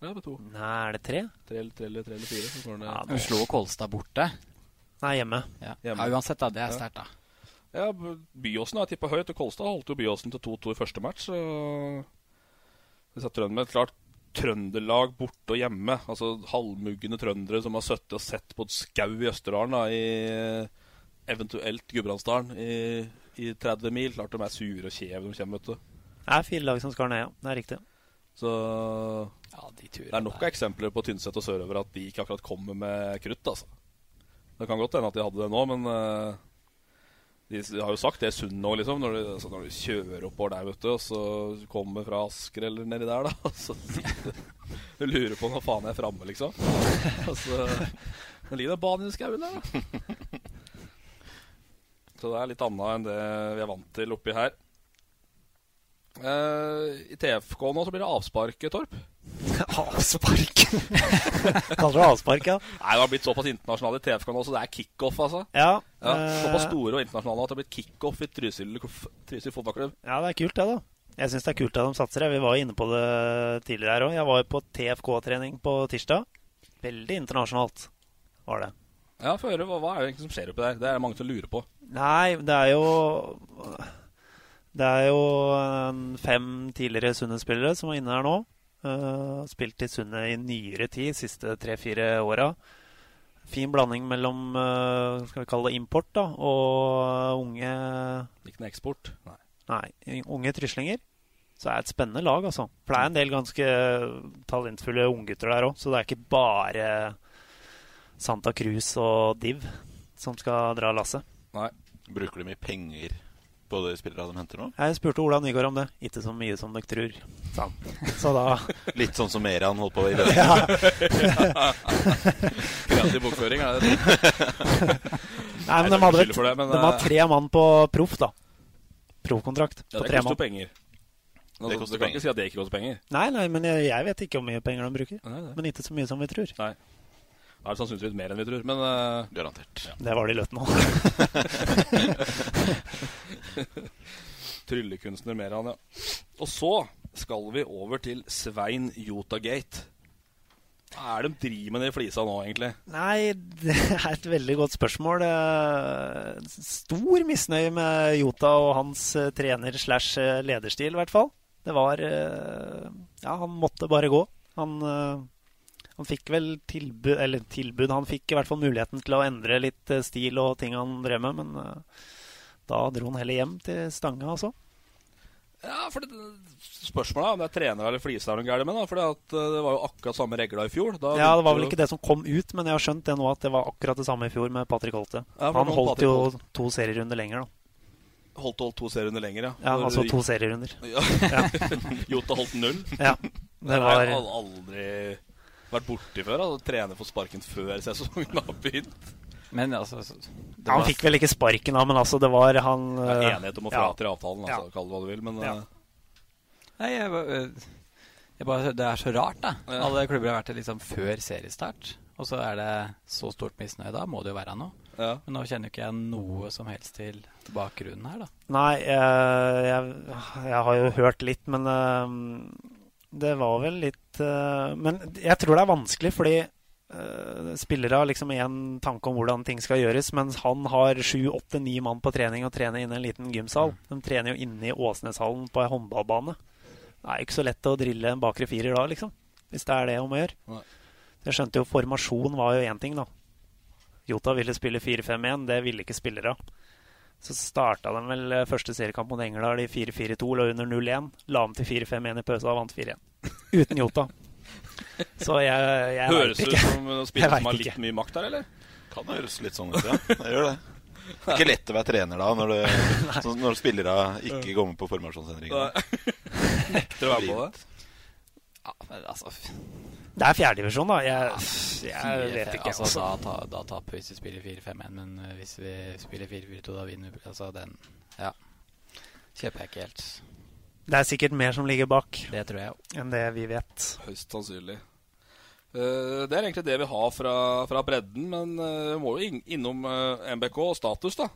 B: Eller er det to?
A: Nei, er det tre?
B: Tre, eller- tre, eller- tre eller fire som går ned.
D: Ja, Oslo og Kolstad borte.
A: Nei, hjemme.
D: Ja, ja uansett, da. Det er sterkt, da.
B: Ja, B- Byåsen har tippa høyt, og Kolstad holdt jo Byåsen til 2-2 i første match. Så det satt Trøndelag klart Trøndelag borte og hjemme. Altså halvmugne trøndere som har sittet og sett på et skau i Østerdalen, da, i eventuelt Gudbrandsdalen, i, i 30 mil. Klart de er sure og kjeve, de kommer, vet du.
A: Det er fire lag som skal ned, ja. Det er riktig.
B: (laughs) Så det er nok av eksempler på Tynset og sørover at de ikke akkurat kommer med krutt. altså. Det kan godt hende at de hadde det nå, men eh, de s- har jo sagt det er sunn nå, liksom. Når du, altså, når du kjører oppover der, vet du, og så kommer fra Asker eller nedi der, da. (laughs) og Så du lurer på når faen jeg er framme, liksom. (laughs) Og så det ligger det en bane i skauen der, da. (laughs) Så det er litt annet enn det vi er vant til oppi her. Eh, I TFK nå så blir det avspark, Torp.
A: avspark? Kaller det avspark, ja.
B: Nei, det har blitt såpass internasjonale i TFK nå, så det er kickoff, altså.
A: Ja, eh,
B: såpass store og internasjonale at det har blitt kickoff i Trysil, Trysil fotballklubb.
A: Ja, det er kult, det, da. Jeg syns det er kult at de satser. jeg. Vi var jo inne på det tidligere her òg. Jeg var jo på TFK-trening på tirsdag. Veldig internasjonalt var det.
B: Ja, få høre, hva, hva er det egentlig som skjer oppi der? Det er det mange som lurer på.
A: Nei, det er jo Det er jo eh, fem tidligere Sunne-spillere som er inne her nå. Eh, spilt i Sunne i nyere tid, siste tre-fire åra. Fin blanding mellom eh, skal vi kalle det import da, og unge
B: Ikke noe eksport? Nei.
A: Unge tryslinger. Så det er et spennende lag, altså. For det er en del ganske talentfulle unggutter der òg, så det er ikke bare Santa Cruz og Div som skal dra lasset.
C: Bruker de mye penger på de spillerne de henter nå?
A: Jeg spurte Ola Nygaard om det. Ikke så mye som dere tror. sa han. Så da
C: Litt sånn som Meran holdt på i løpet.
A: Ja.
B: Kreativ bokføring, er det det?
A: Nei, men
B: Nei,
A: de hadde
B: skylder
A: vel
B: for det, men,
A: De har
B: eh,
A: tre mann på proff, da. Proffkontrakt
B: Ja,
A: på
B: det
A: tre
B: koster jo
A: mann.
B: penger. Altså, du
C: Det koster
B: kan
C: penger.
B: ikke si at det ikke koster penger.
A: Nei, nei, men jeg, jeg vet ikke hvor mye penger de bruker.
B: nei.
A: Men ikke så mye som vi tror.
B: Nei. Da er det sannsynligvis mer enn vi tror, men eh,
C: Garantert.
A: Det var det i Løten òg.
B: Tryllekunstner mer han, ja. Og så skal vi over til Svein Jotagate. Hva er det de driver med nede i flisa nå, egentlig?
A: Nei, (laughs) det er et veldig godt spørsmål. Eh, Stor misnøye med Jota og hans eh, trener slash eh, lederstil, i hvert fall. Det var eh, Ja, han måtte bare gå. Han, eh, han fikk vel tilbud Eller tilbud, han fikk i hvert fall muligheten til å endre litt eh, stil og ting han drev med, men eh, da dro han heller hjem til Stange, altså.
B: Ja, for det, Spørsmålet er om det er trenere eller flisere de er gærne med. da, For det var jo akkurat samme regla i fjor. Da
A: Ja, det var
B: begynte
A: vel
B: jo-
A: ikke det som kom ut, men jeg har skjønt det nå at det var akkurat det samme i fjor med Patrick Holte.
B: Ja, for
A: Han
B: nå
A: holdt
B: Patrick
A: jo to serierunder lenger, da.
B: Holdt, holdt to serierunder lenger, ja.
A: Ja,
B: Når-
A: altså to serierunder.
B: Ja. (laughs) Jota holdt null.
A: Ja, (laughs) det
B: Det har
A: var-
B: jeg al- aldri vært borti før. Altså, trener for sparken før sesongen har begynt.
D: Men altså så-
B: det
A: Han
B: var-
A: fikk vel ikke sparken, da, men altså, det var han
B: Det er
A: eh,
B: enighet om å
A: ja.
B: fratre avtalen, altså, kall det hva du vil, men
A: Ja.
B: eh,
D: Nei, jeg, ba- øh, jeg bare, Det er så rart, da.
B: Ja.
D: Alle klubber har vært det liksom før seriestart. Og så er det så stort misnøye. Da må det jo være noe.
B: Ja.
D: Men nå kjenner jo ikke jeg noe som helst til bakgrunnen her, da.
A: Nei, eh, jeg, jeg har jo hørt litt, men eh, det var vel litt eh, Men jeg tror det er vanskelig, fordi eh, spillere har liksom én tanke om hvordan ting skal gjøres, mens han har sju, åtte, ni mann på trening og trener inne i en liten gymsal.
B: Mm.
A: De trener jo inne i Åsneshallen på ei håndballbane. Det er jo ikke så lett å drille en bakre firer da, liksom. Hvis det er det om å
B: Nei.
A: gjøre. Jeg skjønte jo formasjon var jo én ting, da. Jota ville spille 4-5-1, det ville ikke spillere. Så starta de vel eh, første seriekamp mot Engerdal i 4-4-2, lå under 0-1. La om til 4-5-1 i pausa og vant 4-1. Uten
B: (laughs)
A: Jota. Så jeg, jeg vet
B: Høres ut
A: ikke.
B: som en
A: Jeg
B: spiller
A: vet
B: som har
A: ikke.
B: litt mye makt der, eller?
C: Kan høres litt sånn ut, ja. (laughs) Det gjør det. Det er ikke lett å være trener da, når, du, sånn når spillere ikke går med på formasjonsendringene.
B: Nekter å være på det.
D: Ja, men altså f-
A: Det er fjerdedivisjon, da. Jeg, Ah, jeg
D: fire-
A: vet ikke.
D: Altså,
A: Altså.
D: da, ta, da taper vi hvis vi spiller 4-5-1, men øh, hvis vi spiller 4-4-2, da vinner vi. Altså, den Ja. Kjøper jeg ikke helt.
A: Det er sikkert mer som ligger bak
D: Det tror jeg.
A: enn det vi vet.
B: Høyst sannsynlig. Eh, det er egentlig det vi har fra, fra bredden, men eh, vi må jo inn, innom eh, MBK og status, da.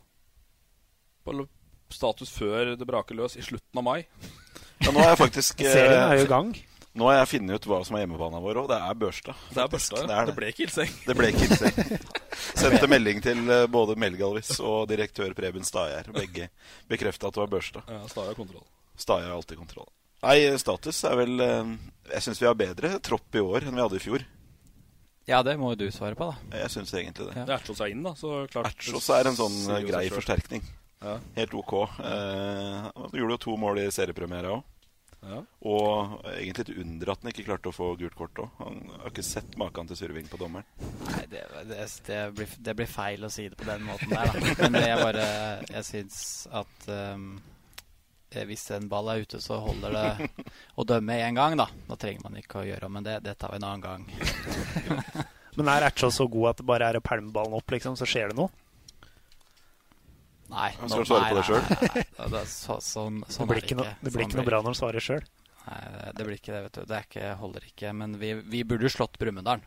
B: På l- status før det braker løs i slutten av mai.
C: Ja, nå har jeg faktisk eh,
A: (laughs) Serien er jo i gang.
C: Nå har jeg funnet ut hva som er hjemmebanen vår òg. Det er Børstad.
B: Det er
C: faktisk.
B: Børstad, ja. Det ble ikke Ilseng.
C: Det ble ikke Ilseng. Sendte melding til eh, både Melgalvis og direktør Preben Stagjerd. Begge bekrefta at det var Børstad.
B: Ja, Staja kontroll.
C: Stagjerd har alltid kontroll. Nei, status er vel eh, Jeg syns vi har bedre tropp i år enn vi hadde i fjor.
D: Ja, det må jo du svare på, da.
C: Jeg syns egentlig det.
B: Det er Ertsås er inn, da. Så klart
C: Ertsås er en sånn
B: sier jo seg
C: grei
B: selv.
C: forsterkning.
B: Ja.
C: Helt OK. Eh, han gjorde jo to mål i seriepremiere òg.
B: Ja.
C: Og egentlig et under at han ikke klarte å få gult kort òg. Han har ikke sett maken til surving på dommeren.
D: Nei, det, det, det, blir, det blir feil å si det på den måten der, (laughs) da. Men jeg bare Jeg syns at ehm, eh, hvis en ball er ute, så holder det å dømme én gang, da. Da trenger man ikke å gjøre om, men det, det tar vi en annen gang.
A: Men er Ertsjå så god at det bare er å pælme ballen opp, liksom, så skjer det noe?
D: Nei.
A: Han
D: nå-
A: skal svare
D: nei,
A: på det
D: nei,
A: selv.
D: nei, nei, det er så- Sånn, sånn
A: det
D: er
A: blir ikke, noe- det
D: Sånn
A: blir ikke noe bra når han svarer sjøl.
D: Nei, det blir ikke det, vet du. Det er ikke, holder ikke. Men vi, vi burde jo slått Brumunddal.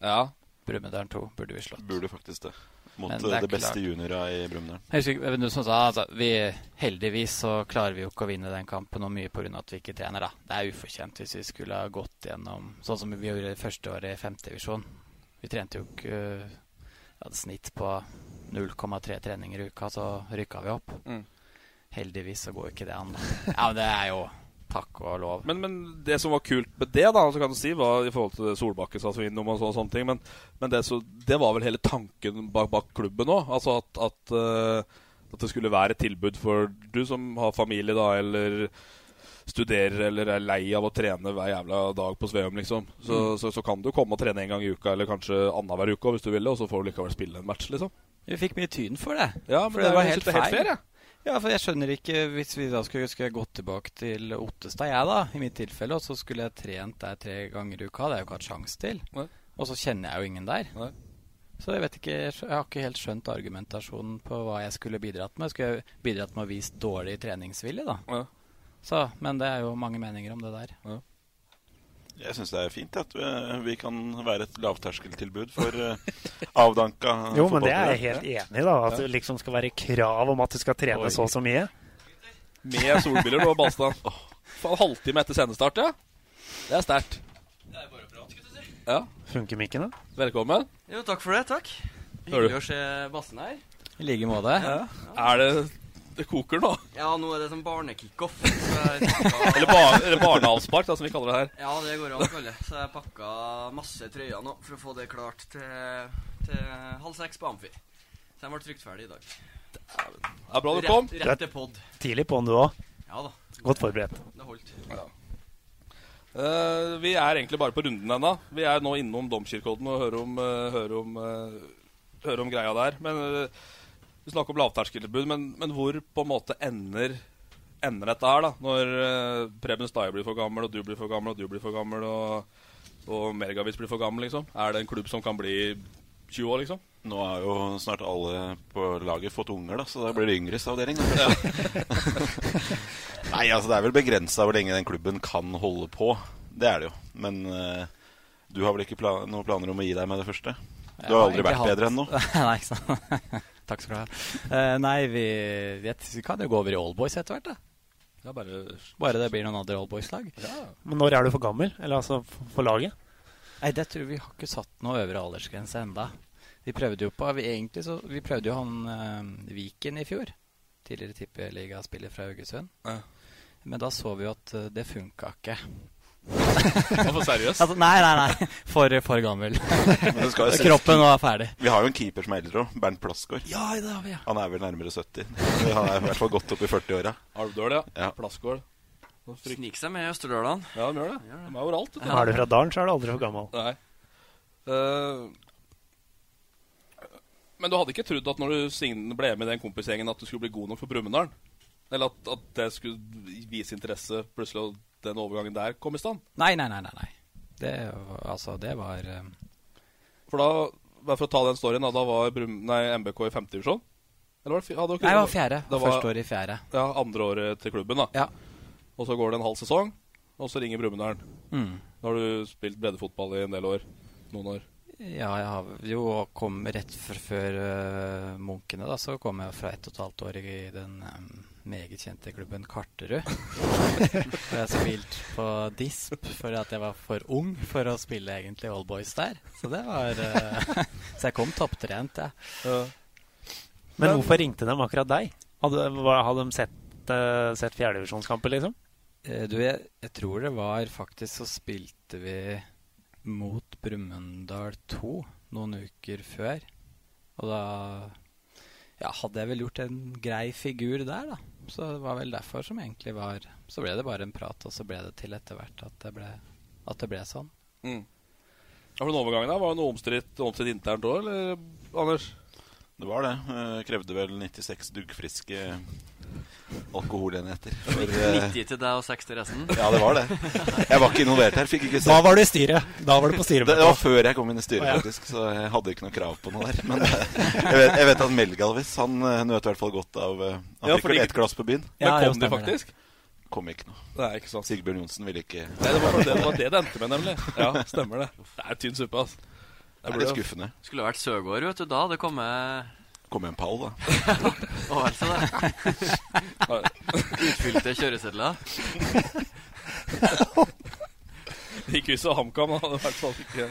B: Ja.
D: Brumunddal 2 burde vi slått.
C: Burde faktisk det. Mot
D: Men
C: eh,
D: er
C: det, beste
D: klart.
C: juniora i Brumunddal.
D: Jeg husker ikke, hvem som sa altså, vi, Heldigvis så klarer vi jo ikke å vinne den kampen, og mye pga. at vi ikke trener. da. Det er ufortjent hvis vi skulle ha gått gjennom sånn som vi gjorde første året i femtedivisjon. Vi trente jo ikke eh, Vi hadde snitt på 0,3 treninger i uka, så rykka vi opp.
B: Mm.
D: Heldigvis så går ikke det an. da. Ja, men det er jo takk og lov.
B: Men, men det som var kult med det, da, så kan du si, var i forhold til det Solbakken sa så innom og så, og sånne ting, men, men det, så, det var vel hele tanken bak, bak klubben òg. Altså at, at, eh, at det skulle være et tilbud for du som har familie, da, eller studerer eller er lei av å trene hver jævla dag på Sveum, liksom. Så, så, så kan du komme og trene en gang i uka, eller kanskje annenhver uke også, hvis du vil, og så får du likevel spille en match, liksom.
D: Vi fikk mye tyn for det.
B: Ja, men
D: For
B: det,
D: var
B: jeg
D: helt
B: synes det er helt
D: feil.
B: fair, jeg.
D: Ja, for jeg skjønner ikke Hvis vi da skulle, skulle jeg gått tilbake til Ottestad, jeg da, i mitt tilfelle, og så skulle jeg trent der tre ganger i uka, det har jeg jo ikke hatt sjanse til.
B: Nei.
D: Og så kjenner jeg jo ingen der. Så jeg vet ikke Jeg skjø- jeg har ikke helt skjønt argumentasjonen på hva jeg skulle bidratt med. Skulle jeg bidratt med å vise dårlig treningsvilje, da? Så, men det er jo mange meninger om det der.
C: Jeg syns det er fint at vi, vi kan være et lavterskeltilbud for eh,
A: (laughs)
C: avdanka
A: Jo, men det er
C: fotballspillere.
A: jeg helt enig i, da. At det liksom skal være krav om at du skal trene
B: Oi.
A: så og så mye.
B: Med solbriller nå, Balstad. (laughs) Faen, halvtime etter sendestart, ja. Det er sterkt. Ja.
A: Funker mikken, da?
B: Velkommen.
E: Jo, takk for det. Takk.
B: Hører du?
E: Hyggelig å se Bassen her.
D: I like måte.
E: Ja.
B: Er det Det koker nå. (laughs)
E: Ja, nå er det sånn barnekickoff. så jeg pakka-
B: Eller, bar, eller barneavspark, da, som vi kaller det her.
E: Ja, det går an å kalle det. Så jeg pakka masse trøyer nå for å få det klart til, til halv seks på Amfi. Så jeg ble trygt ferdig i dag.
B: Det er bra du
E: rett,
B: kom.
E: Rett til pod.
A: Tidlig på'n, du òg.
E: Ja da.
A: Godt forberedt.
E: Det holdt.
B: Eh, vi er egentlig bare på runden ennå. Vi er nå innom Domkirkeodden og hører om, eh, hører om, eh, hører om greia der. Men eh, Vi snakker om lavterskeltilbud, men, men hvor på en måte ender, ender dette her? da? Når eh, Preben Stai blir for gammel, og du blir for gammel, og du blir for gammel, og, og Mergavis blir for gammel, liksom? Er det en klubb som kan bli 20 år, liksom?
C: Nå har jo snart alle på laget fått unger, da, så da blir det yngres avdeling. Da. (laughs)
D: (laughs)
C: Nei, altså det er vel begrensa hvor lenge den klubben kan holde på. Det er det jo. Men eh, du har vel ikke pla noen planer om å gi deg med det første? Du har aldri vært bedre enn nå.
D: (laughs) Nei, ikke sant. (laughs) Takk skal du ha. Eh, nei, vi, jeg t- vi kan jo gå over i Allboys etter hvert, da.
B: bare...
D: det blir noen andre Allboys-lag.
A: Men når er du for gammel? Eller altså for for laget?
D: Nei, det tror jeg vi har ikke satt noe øvre aldersgrense enda. Vi prøvde jo på vi egentlig så, vi prøvde jo han eh, Viken i fjor. Tidligere tippeligaspiller fra Haugesund.
B: Ja.
D: Men da så vi jo at eh, det funka ikke.
B: for
E: (laughs)
B: seriøs?
D: (laughs) altså, nei, nei, nei. For, for gammel.
C: Men det
D: (laughs)
C: skal jo ses-
D: Kroppen nå er ferdig.
C: Vi har jo en keeper som er eldre òg. Bernt Plassgaard.
D: Ja, det har vi, ja.
C: Han er vel nærmere 70. Han er i hvert fall godt opp i 40-åra.
B: Alvdøl, ja.
C: Ja.
B: Plassgård. Nå frykt-
E: Snik seg med i Østerdølene.
B: Ja, de gjør det. De er overalt. vet du.
A: Ja, Er du fra dalen, så er du aldri for gammel.
B: Nei. Eh, men du hadde ikke trodd at når du sign- ble med i den kompisgjengen, at du skulle bli god nok for Brumunddal? Eller at, at det skulle vise interesse plutselig, og den overgangen der kom i stand?
D: Nei, nei, nei. nei, nei. Det, var- altså, det var eh,
B: For da, bare for å ta den storyen, da, da var Brum, nei, MBK i femte divisjon? Eller var det, fi- ja, det
D: Nei, det var fjerde.
B: Det
D: Første året i fjerde.
B: Ja, andre året til klubben, da. Og så går det en halv sesong, og så ringer Brumunddal.
D: Mm.
B: Da har du spilt breddefotball i en del år. Noen år.
D: Ja, jeg har jo kom rett før, før øh, Munkene, da, så kom jeg fra ett og et halvt år i den øhm, meget kjente klubben Karterud. For jeg spilte på Disp fordi at jeg var for ung for å spille egentlig All Boys der. Så det var øh, (laughs) Så jeg kom topptrent, jeg.
A: Men hvorfor ringte de akkurat deg? Hadde, hva- hadde de sett, uh, sett fjerdedivisjonskamper, liksom?
D: Eh, Du, jeg, jeg tror det var faktisk så spilte vi mot Brumunddal 2 noen uker før. Og da ja, hadde jeg vel gjort en grei figur der, da. Så det var vel derfor som egentlig var Så ble det bare en prat, og så ble det til etter hvert at det ble, at det ble sånn.
B: Mm. Ja, for den overgangen der var jo noe omstridt, omstridt internt òg, eller, Anders?
C: Det var det. Eh, Krevde vel 96 duggfriske alkoholenheter. For, eh,
E: 90 til deg og 6 til resten.
C: Ja, det var det. Jeg var ikke involvert her. Fikk ikke se.
A: Da var du i styret. Da var du på
C: Det, det var
A: styremøte.
C: før jeg kom inn i styret,
A: Å, ja.
C: faktisk, så jeg hadde ikke noe krav på noe der. Men eh, jeg vet, jeg vet at Melgalvis han eh, nøt i hvert fall godt av eh, Han
B: Ja,
C: fikk
B: fordi-
C: vel ett glass på byen.
B: Men (laughs) Ja, kom jo, de stemmer det. faktisk?
C: Kom ikke noe.
B: Nei, ikke sant.
C: Sigbjørn Johnsen ville ikke
B: Nei, det var bare det det, var det, det endte med, nemlig. Ja, stemmer det. Det er tynn suppe, altså.
C: Det er litt skuffende.
E: Skulle vært Søgaard, vet du. Da hadde det kommet
C: Kom en pall, da.
E: Å, altså det. Utfylte kjøresedler.
B: Ikke hvis det var HamKam, da. hadde det i hvert fall ikke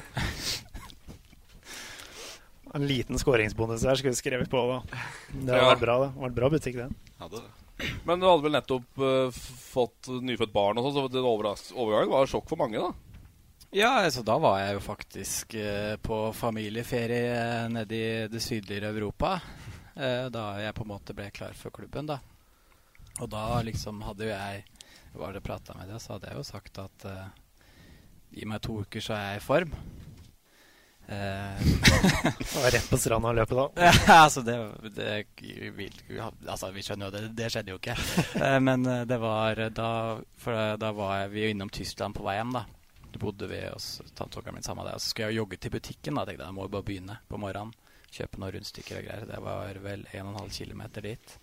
A: En liten skåringsbonus her skulle vi skrevet på, da. Det hadde
B: Ja.
A: vært bra, det. Det hadde vært bra butikk, det.
B: Men du hadde vel nettopp eh, f- fått nyfødt barn og sånn, så den overras- overgangen var sjokk for mange, da.
D: Ja, altså da var jeg jo faktisk eh, på familieferie eh, nede i det sydligere Europa. eh, da jeg på en måte ble klar for klubben, da. Og da liksom hadde jo jeg Var det prata med deg, så hadde jeg jo sagt at eh, gi meg to uker, så er jeg i form. Eh, det
A: var rett på stranda og løpet, da.
D: Ja, (laughs) altså det, det vil, altså vi skjønner jo det, det skjedde jo ikke. Eh, Men eh, det var eh, da For eh, da var jeg, vi jo innom Tyskland på vei hjem, da. Da bodde vi hos tanteonkelen min sammen med deg. Og så skulle jeg jo jogge til butikken, da. tenkte Jeg jeg må jo bare begynne på morgenen. Kjøpe noen rundstykker og greier. Det var vel 1,5 km dit.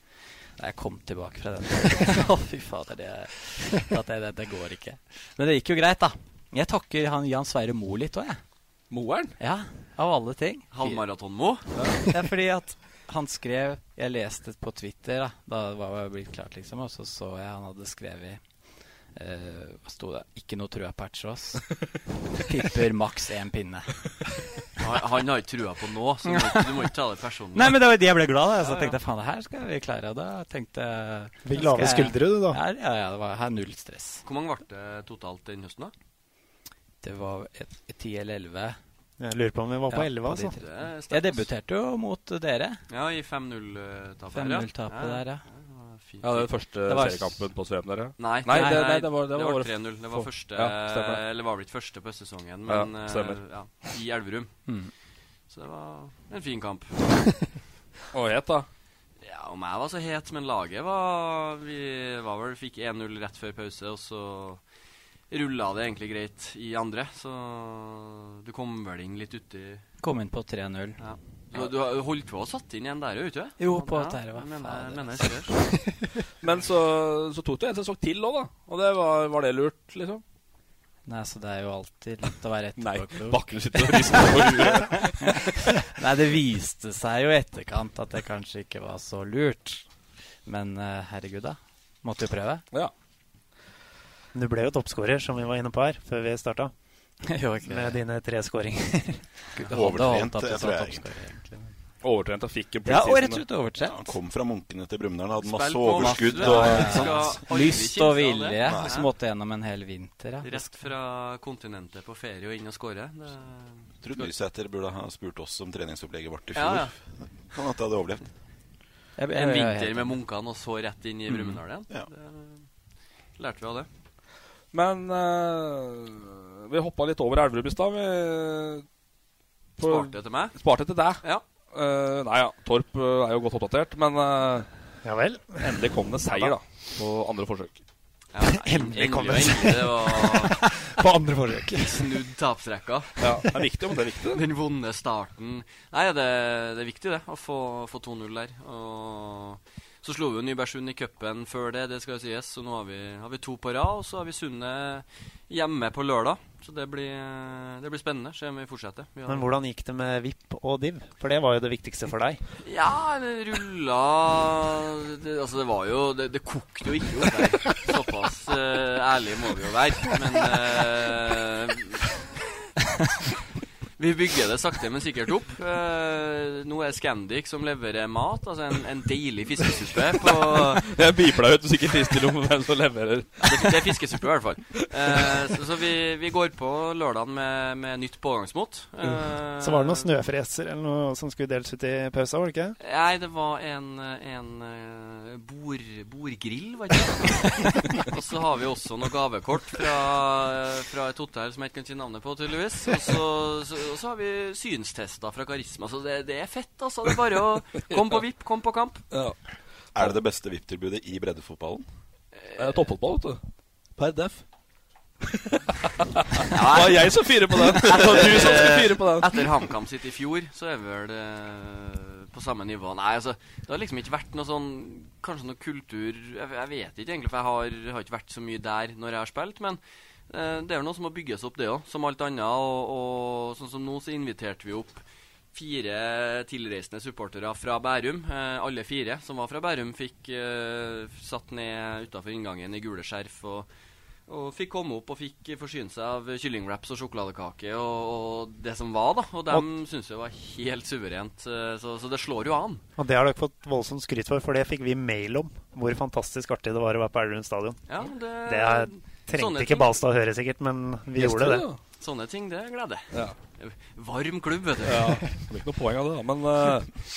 D: Da jeg kom tilbake fra den (laughs) Å, fy fader, det, at det, det, det går ikke. Men det gikk jo greit, da. Jeg takker han Jan Sverre Moe litt òg, jeg.
B: Moeren?
D: Ja, av alle ting.
E: Halvmaraton-Mo?
D: Det er fordi at han skrev Jeg leste på Twitter, da, da var jeg blitt klart, liksom, og så så jeg han hadde skrevet eh, Hva sto det? Ikke noe trua på Ertsås. Pipper maks én pinne.
E: Han han har ikke trua på nå, så du må ikke- du må ikke ta det personlig.
D: Nei, men det var det jeg ble glad av. Så
E: Ja, ja.
D: tenkte jeg faen, det her skal vi klare. og Da tenkte jeg
A: Fikk lave
D: skal jeg-
A: skuldre, du, da.
D: Ja, ja, ja, det var her er null stress.
E: Hvor mange ble det totalt den høsten, da?
D: Det var et- et ti eller elleve.
A: Jeg lurer på om vi var på
D: Ja,
A: 11,
D: de
A: altså.
D: tre.
E: Det er sterkt,
D: Jeg
E: ass.
D: debuterte jo mot dere.
E: eh, Ja, i 5-0-tapet.
D: 5-0-tapet der, ja.
E: det var
B: Ja, det var den første
D: Det var-
B: seriekampen på Sveum der, ja.
E: Nei,
B: nei, det, nei, det var, det var, året-
E: 3-0. Det var
B: for-
E: første
B: Ja, stemmer det.
E: Eller var vel ikke første på sesongen,
B: Ja,
E: men eh,
B: stemmer.
E: ja, i Elverum.
B: Mm.
E: Så det var en fin kamp.
B: Og het, da?
E: Ja, om jeg var så het, men laget var Vi var vel fikk 1-0 rett før pause, og så rulla det egentlig greit i andre. Så du kom vel inn litt uti
D: Kom inn på 3-0.
E: Ja. Du, du har- holdt på å satt inn en der, jo, ikke du?
D: Jo, på
E: ja,
D: at der var
E: mener,
D: fader.
E: jeg- mener jeg ser.
B: Men så, så tok du en sesong til òg, da. Og det var, var det lurt, liksom?
D: Nei, så det er jo alltid lett å være etterpåklok.
B: Bakkel sitter og rister på (laughs) huet.
D: Nei, det viste seg jo i etterkant at det kanskje ikke var så lurt. Men eh, herregud, da. Måtte jo prøve.
A: Du ble jo toppskårer, som vi var inne på her, før vi starta.
D: Jo, ikke (laughs) det.
A: Med dine tre skåringer.
D: Det holdt at du sa toppskårer, egentlig.
C: Overtrent og fikk
A: en Ja, og rett og slett overtrent.
C: Han kom fra Munkene til Brumunddal, hadde
E: Spill
C: masse
E: på
C: overskudd.
E: masse,
C: Og,
E: ja.
C: ikke sant?
E: Skal- Oi,
D: (laughs)
E: vi
D: Lyst og
E: kimser av det.
D: vilje.
E: Nei.
D: Som måtte gjennom en hel vinter. Ja.
E: Rett fra kontinentet på ferie og inn og skåre.
C: Jeg tror Nysæter burde ha spurt oss om treningsopplegget vårt i
E: Ja,
C: fjor.
E: ja.
C: Kan hende jeg hadde overlevd.
E: En vinter med munkene og så rett inn i Brumunddal igjen.
C: Ja.
E: Det Lærte vi av det.
B: Men eh, vi hoppa litt over Elverum i stad. vi- på-
E: Sparte til meg?
B: Sparte til deg.
E: Ja.
B: nei ja, Torp eh, er jo godt oppdatert, men eh, endelig kom det
A: Ja
B: seier,
A: da.
B: da. På andre forsøk.
E: endelig kom det endelig, seier. det var-
A: (laughs) På andre forsøk.
E: Snudd tapsrekka.
B: Ja, det er viktig, men det er viktig.
E: Den vonde starten. Nei, det, det er viktig, det, å få, få 2-0 der. Og så slo vi jo Nybergsund i cupen før det, det skal jo sies. Så nå har vi, har vi to på rad, og så har vi Sundet hjemme på lørdag. Så det blir, det blir spennende. Se om vi fortsetter. Vi har-
A: Men hvordan gikk det med VIP og DIV? For det var jo det viktigste for deg.
E: Ja, det rulla det, Altså, det var jo Det, det kokte jo ikke opp der. Såpass eh, ærlige må vi jo være. Men eh, Vi bygger det sakte, men sikkert opp. Eh, nå er Scandic som leverer mat. Altså en, en deilig fiskesuppe på
B: Jeg beeper deg ut hvis ikke frister om hvem som leverer.
E: det, det er fiskesuppe, i hvert fall. Eh, så så vi, vi går på lørdagen med, med nytt pågangsmot. Eh,
A: Så var det noen snøfreser eller noe som skulle deles ut i pausa, var det ikke?
E: Nei, det var en, en eh, bord, bordgrill, var det ikke? og så har vi også noen gavekort fra, fra et hotell som jeg ikke kan si navnet på, tydeligvis. Og så, så, og så har vi synstester fra Karisma. Så det, det er fett, altså. Det er bare å Kom på VIP, kom på kamp.
C: Er det det beste VIP-tilbudet i breddefotballen?
B: Eh, Toppfotball, vet du. Per (laughs) def.
E: Det
B: var jeg som fyrer på (laughs) den. Det var du som skulle fyre på den.
E: Etter HamKam sitt i fjor, så er vi vel eh, på samme nivå. Nei, altså, det har liksom ikke vært noe sånn Kanskje noe kultur Jeg, jeg vet ikke egentlig, for jeg har, har ikke vært så mye der når jeg har spilt. Men eh, det er jo noe som må bygges opp, det òg, som alt annet. Og, og sånn som nå, så inviterte vi opp fire tilreisende supportere fra Bærum. Eh, alle fire som var fra Bærum, fikk eh, satt ned utafor inngangen i gule skjerf. og og fikk komme opp og fikk forsyne seg av kyllingwraps og sjokoladekake og, og det som var, da. Og dem syntes jeg var helt suverent. eh, Så, så det slår jo an.
A: Og det har dere fått voldsomt skryt for, for det fikk vi mail om. Hvor fantastisk artig det var å være på Elverum stadion.
E: Ja, det-
A: det er,
E: Eh, sånne
A: trengte
E: ting.
A: ikke Balstad å høre, sikkert, men vi
B: Yes,
A: gjorde det.
B: det,
E: Sånne ting, det er glede.
B: Ja.
E: Varm klubb, vet du.
B: Ja, det blir ikke noe poeng av det, da. Men, eh,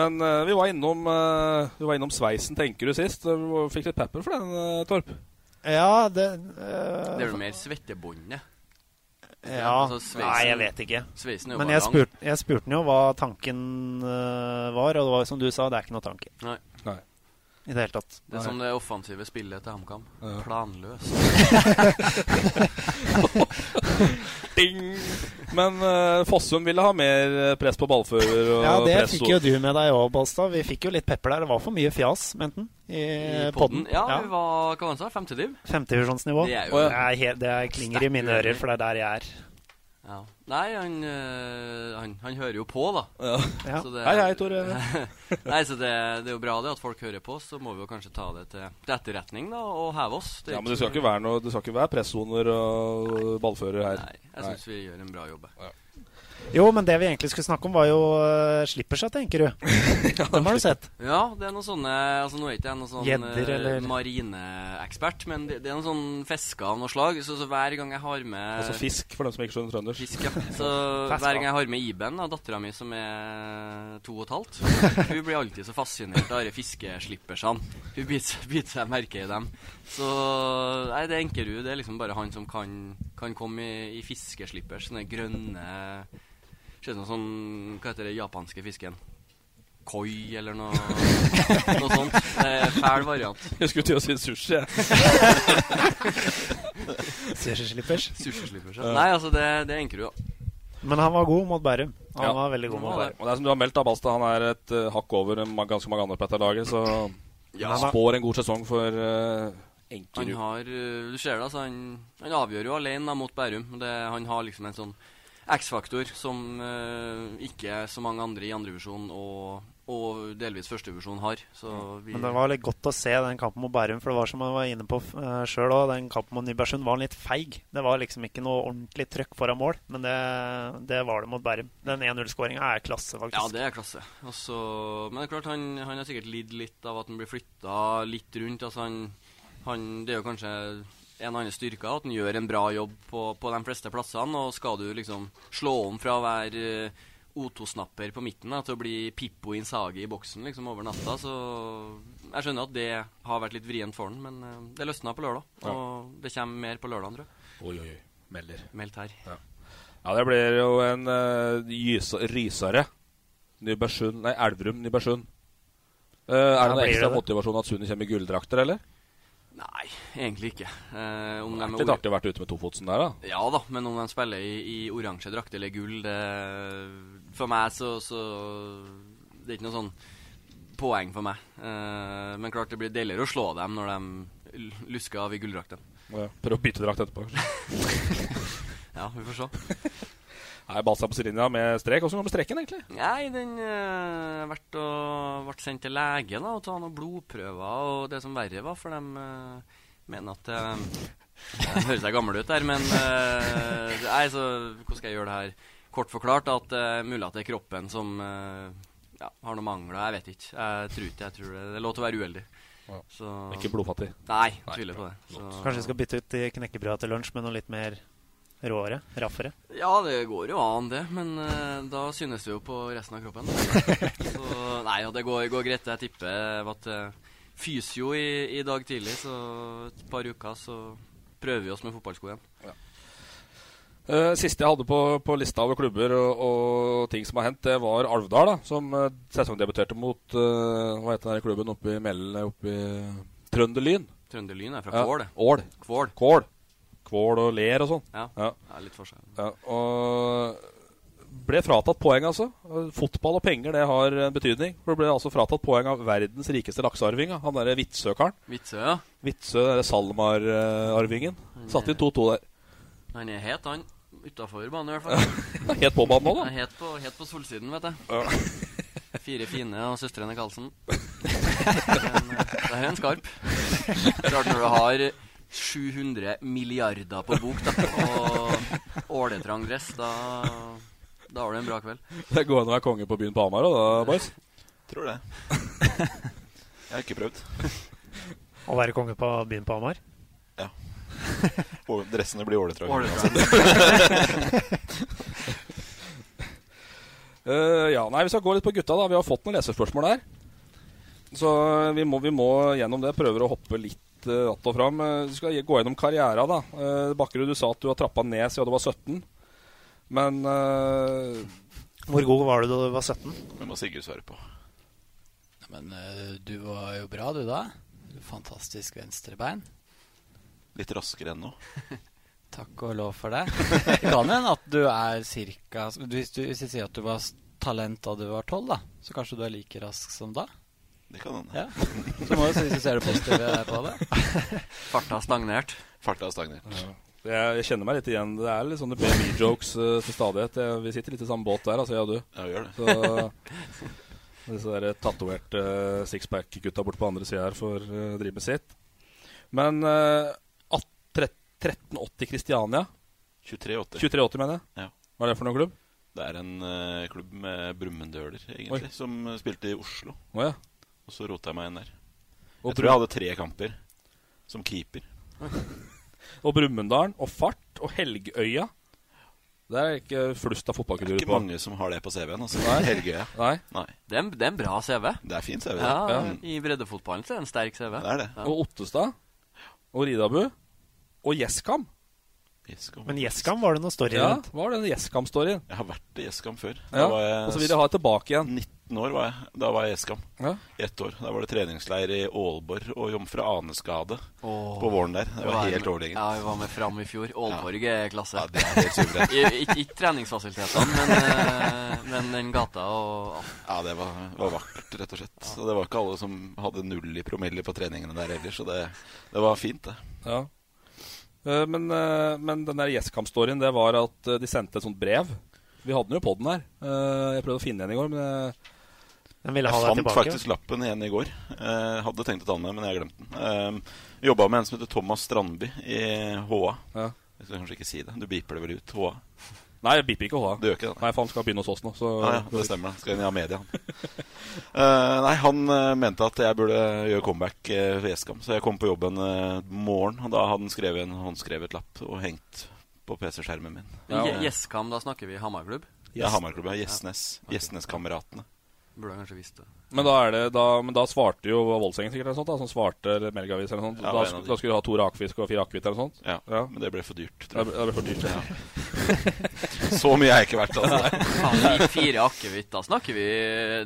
B: men eh, vi, var innom, eh, vi var innom sveisen, tenker du, sist. Eh, Vi fikk litt pepper for den, eh, Torp.
A: Ja, det eh,
E: Det er jo mer svettebåndet.
A: Ja,
E: altså sveisen-
A: Nei, jeg vet ikke.
E: Sveisen er jo
A: Men
E: bare
A: jeg
E: lang.
A: spurte, jeg spurte den jo hva tanken øh, var, og det var som du sa, det er ikke noe tanke.
E: Nei.
A: I det hele tatt.
E: Det er som det offensive spillet til HamKam.
A: Ja.
E: Planløst.
B: Ding! Men eh, Fossum ville ha mer eh, press på ballfører. Og
A: Ja, det
B: press
A: fikk jo du med deg òg, Balstad. Vi fikk jo litt pepper der. Det var for mye fjas, mente han, i,
E: I
A: Eh, podden.
E: podden. Ja, vi var hva var det han sa? Femtediv?
A: Femtevisjonsnivå.
E: Det
A: Det,
E: er jo-
A: er helt- det er klinger i mine ører, for det er der jeg er.
E: Ja. Nei, han, øh, han, han hører jo på, da.
B: Ja.
E: Så det-
B: Hei, hei, Tore.
E: Nei, så det, det er jo bra det at folk hører på, så må vi jo kanskje ta det til, til etterretning da, og heve oss. Det er
B: Ja, men det skal ikke være, noe, det skal ikke være pressoner og ballfører her.
E: Jeg syns vi gjør en bra jobb.
A: Jo, men det vi egentlig skulle snakke om, var jo øh, slipperset,
E: (laughs)
A: tenker du. Dem har du sett.
E: Ja, det er noen sånne Altså Nå er ikke jeg noen sånn
A: Gjedder,
E: eh,
A: eller?
E: marineekspert, men det, det er noen sånn fisker av noe slag. Så, så hver gang jeg har med
B: Altså fisk, for dem som ikke skjønner trøndersk.
E: (laughs) Fisk, ja. Så
A: Fast
E: hver
A: bra.
E: gang jeg har med Iben, da, dattera mi som er to og et halvt, hun blir alltid så fascinert av de fiskeslipperne. Hun biter biter seg merke i dem. Så nei, det er Enkerud. Det er liksom bare han som kan, kan komme i, i fiskeslippers. Sånne grønne Ser ut som sånn Hva heter det japanske fisken? Koi eller noe, noe sånt. Det er fæl variant.
B: Jeg skulle til å si sushi, jeg.
A: Sushi-slippers.
E: Sushi-slippers, ja.
B: Ja.
E: Nei, altså, det, det er Enkerud, da.
A: Men han var god mot Bærum. Han
B: Ja.
A: var veldig god mot Bærum.
B: Og det er som du har meldt, da, Balstad. Han er et eh, hakk over eh, ma- ganske mange andre på dette laget, så
E: Ja.
B: spår en god sesong for uh, Enkerud.
E: Han har, eh, du ser det, altså, han, han avgjør jo alene da, mot Bærum. Det, han har liksom en sånn X-faktor som eh, ikke så mange andre i andredivisjon og, og delvis førstedivisjon har. Så vi,
A: Men det var litt godt å se den kampen mot Bærum, for det var som jeg var inne på uh, sjøl òg. Den kampen mot Nybergsund var litt feig. Det var liksom ikke noe ordentlig trøkk foran mål, men det, det var det mot Bærum. Den 1-0-skåringa er klasse, faktisk.
E: ja, det er klasse. Og så- men det er klart, han, han har sikkert lidd litt av at han blir flytta litt rundt. Altså, han, han, det er jo kanskje en av hans styrker at han gjør en bra jobb på, på de fleste plassene. Og skal du liksom slå om fra å være eh, O2-snapper på midten da, til å bli Pippo Insage i boksen liksom over natta, så Jeg skjønner at det har vært litt vrient for han, men eh, det løsna på lørdag.
B: Ja.
E: Og det kommer mer på lørdag, tror jeg.
B: Oi, oi, oi. Melder.
E: Meldt her.
B: Ja, det blir jo en uh, rysere. Nybergsund Nei, Elverum, Nybergsund. Eh, er det
E: Ja,
B: noen
E: blir
B: ekstra
E: det det?
B: motivasjon at Sunni kommer i gulldrakter, eller?
E: Nei, egentlig ikke. Eh, om de
B: Det er
E: er
B: litt
E: ord-
B: artig å vært ute med tofotsen der, da.
E: Ja da, men om de spiller i, i oransje drakt eller gull det, For meg så, så Det er ikke noe sånn poeng for meg. Eh, men klart det blir deiligere å slå dem når de l- lusker av i gulldrakten.
B: Ja, Prøv å bytte drakt etterpå. (laughs)
E: ja, vi får se.
B: Nei, Balstad på sidelinja med strek. Hvordan går det med streken, egentlig?
E: Nei, den eh, vært og, ble sendt til lege da, og ta noen blodprøver og det som verre var, for de eh, mener at eh, Det høres jeg gammel ut der, men eh, Nei, så hvordan skal jeg gjøre det her? Kort forklart at eh, mulig at det er kroppen som eh, ja, har noen mangler. Jeg vet ikke. Jeg tror ikke jeg tror det. Det er lov til å være uheldig. Så-
B: Ikke blodfattig.
E: Nei,
B: Nei,
E: tviler på det. Så-
A: Kanskje vi skal bytte ut de knekkebrøda til lunsj med noe litt mer råere? Raffere?
E: Ja, det går jo an, det. Men eh, da synes det jo på resten av kroppen. så nei, ja, det går, går greit. Jeg tipper jeg var til fysio i, i dag tidlig, så et par uker så prøver vi oss med fotballsko igjen.
B: Eh, siste jeg hadde på, på lista over klubber og, og ting som har hendt, det var Alvdal, da, som eh, sesongdebuterte mot eh, hva heter den her klubben oppe i Melle, oppe i Trønderlyn.
E: Trønderlyn er fra
B: Ja,
E: Kvål, det.
B: Ål.
E: Kvål.
B: Kål. Kål og ler og sånn.
E: Ja, det er litt forskjell.
B: Ja, og ble fratatt poeng, altså. Eh, Fotball og penger, det har en betydning. For det ble altså fratatt poeng av verdens rikeste laksearving, da. han derre Vitsø-karen.
E: Vitsø, ja.
B: Vitsø, den derre SalMar-arvingen. Satte inn 2-2 der.
E: Han er het, han. Utafor banen, i hvert fall.
B: Het på banen også, da.
E: Han er Het på, het på solsiden, vet jeg. (laughs) Fire fine og søstrene
C: (laughs)
E: Karlsen. Men, eh, Det er en skarp. Klart når du har 700 milliarder på bok da, og åletrang dress, da, da har du en bra kveld.
B: Det går an å være konge på byen på Hamar òg, da, boys.
C: Tror det. Jeg har ikke prøvd.
A: Å være konge på byen på Hamar?
C: Ja. Og dressene blir åletrang.
A: Åletrang.
B: Eh, ja, nei, Vi skal gå litt på gutta. da Vi har fått noen lesespørsmål der. Så eh, vi må, vi må gjennom det. Prøver å hoppe litt uh, att og fram. Eh, vi skal gå gjennom karriera. da Eh, Bakkerud, du sa at du har trappa ned siden du var 17. Men eh,
A: Hvor god var du da du var 17?
C: Det må Sigurd svare på.
D: Men eh, du var jo bra, du da. Fantastisk venstrebein.
C: Litt raskere enn nå.
D: Takk og lov (laughs) for det. Det kan hende at du er cirka Hvis du hvis jeg sier at du var s- talent da du var tolv, da, så kanskje du er like rask som da?
C: Det kan hende.
D: Ja. Så må du si hvis du ser det positive på det.
E: Farta stagnert.
C: Farta stagnert.
B: jeg, jeg kjenner meg litt igjen. Det er litt sånne BB-jokes eh, til stadighet. Jeg, vi sitter litt i samme båt der, altså, jeg og du.
C: Ja, vi gjør det.
B: Så, (laughs) disse der tatoverte eh, sixpack-gutta borte på andre sida her får eh, drive med sitt. Men eh, at- tre- 1380 Kristiania
C: 2380.
B: 2380, mener jeg.
C: Ja.
B: Hva er det for noen klubb?
C: Det er en eh, klubb med brummendøler, egentlig,
B: Oi.
C: som eh, spilte i Oslo.
B: Å, ja.
C: Og så rota jeg meg inn der.
B: Og
C: jeg tror jeg hadde tre kamper som keeper.
B: Og Brumunddalen og Fart og Helgøya. Det er ikke flust av fotballkultur.
C: Det er ikke mange som har det på CV-en. Altså. Helge.
B: Nei.
E: Det er, en, det er en bra CV.
C: Det er fin CV.
E: Ja,
C: det.
E: I breddefotballen så er det en sterk CV.
C: Det er det.
E: Ja.
B: Og Ottestad og Ridabu og Gjesskam.
A: Men Gjesskam var det noe story
B: Ja,
A: rundt.
B: var den Gjesskam-storyen.
C: Jeg har vært i Eskam før.
B: Ja, og så vil de ha det tilbake igjen.
C: 19 år var jeg. Da var jeg i Eskam.
B: Ja.
C: I ett år. Da var det treningsleir i Aalborg og Jomfru Aneskade
E: Åh.
C: på våren der. Det
E: Vi
C: var helt
E: med-
C: overlegent.
E: Ja, vi var med fram i fjor. Aalborg er klasse.
C: Ja, det er helt suverent.
E: I- Ikke ikke treningsfasilitetene, men, eh, men den gata og
C: Ja, det var, var vakkert, rett og slett. Og det var ikke alle som hadde null i promille på treningene der heller, så det, det var fint, det.
B: Ja. Eh, Men, eh, men den der Gjesskam-storyen, det var at eh, de sendte et sånt brev. Vi hadde den jo på den her. Eh, Jeg prøvde å finne den i går, men eh,
C: jeg fant faktisk lappen igjen i går. Eh, hadde tenkt å ta den med, men jeg glemte den. Eh, Jobba med en som heter Thomas Strandby i HA. Jeg skal kanskje ikke si det. Du beeper det vel ut? HA.
B: Nei, jeg beeper ikke HA.
C: Du gjør ikke det?
B: Nei, for han skal begynne hos oss nå. Så
C: Ja, ja, det stemmer. det. Skal inn i Amedia. Eh, nei, han eh, mente at jeg burde gjøre comeback eh, for Eskam, så jeg kom på jobben uh, morgen. Og da hadde han skrevet en håndskrevet lapp og hengt på PC-skjermen min.
E: Men Gje- Gjesskam, da snakker vi Hamarklubb?
C: Ja, Hamarklubben. ja, Gjesnes. Gjesneskameratene.
E: Burde jeg kanskje visst det.
B: Men da, er det, da, men da svarte jo Voldsengen sikkert eller noe sånt, da, som svarte eller Melgavis eller noe sånt.
C: Ja,
B: da,
C: en av
B: sk-
C: de.
B: da skulle du ha to rakfisk og fire akevitt eller noe sånt.
C: Ja, men det ble for dyrt.
B: Det ble, det ble for dyrt.
C: Ja. (laughs) Så mye er jeg ikke verdt, altså.
E: Nei. Faen, i fire akevitt, da snakker vi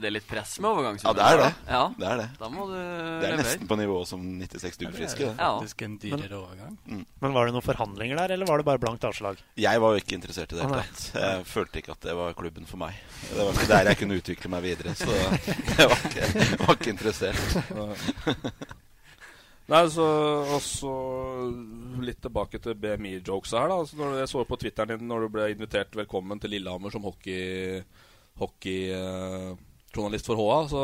E: Det er litt press med
C: Ja,
E: overgangssummen.
C: det er det.
E: Ja.
C: det, er det.
E: Da må du
C: det er
E: levere.
C: nesten på nivå som 96 duggfriske. det.
E: Ja.
D: Faktisk en dyrere overgang.
C: Mm.
A: Men var det noen forhandlinger der, eller var det bare blankt avslag?
C: Jeg var jo ikke interessert i det.
A: Å, nei.
C: hele tatt. Jeg følte ikke at det var klubben for meg. Det var ikke der jeg kunne utvikle meg videre. (laughs) Så jeg var ikke, jeg var ikke (laughs) interessert.
B: Nei, så Og så litt tilbake til BMI-jokesa her, da. Altså, når du- jeg så på Twitteren din når du ble invitert velkommen til Lillehammer som hockeyjournalist hockey, eh, journalist for HA, så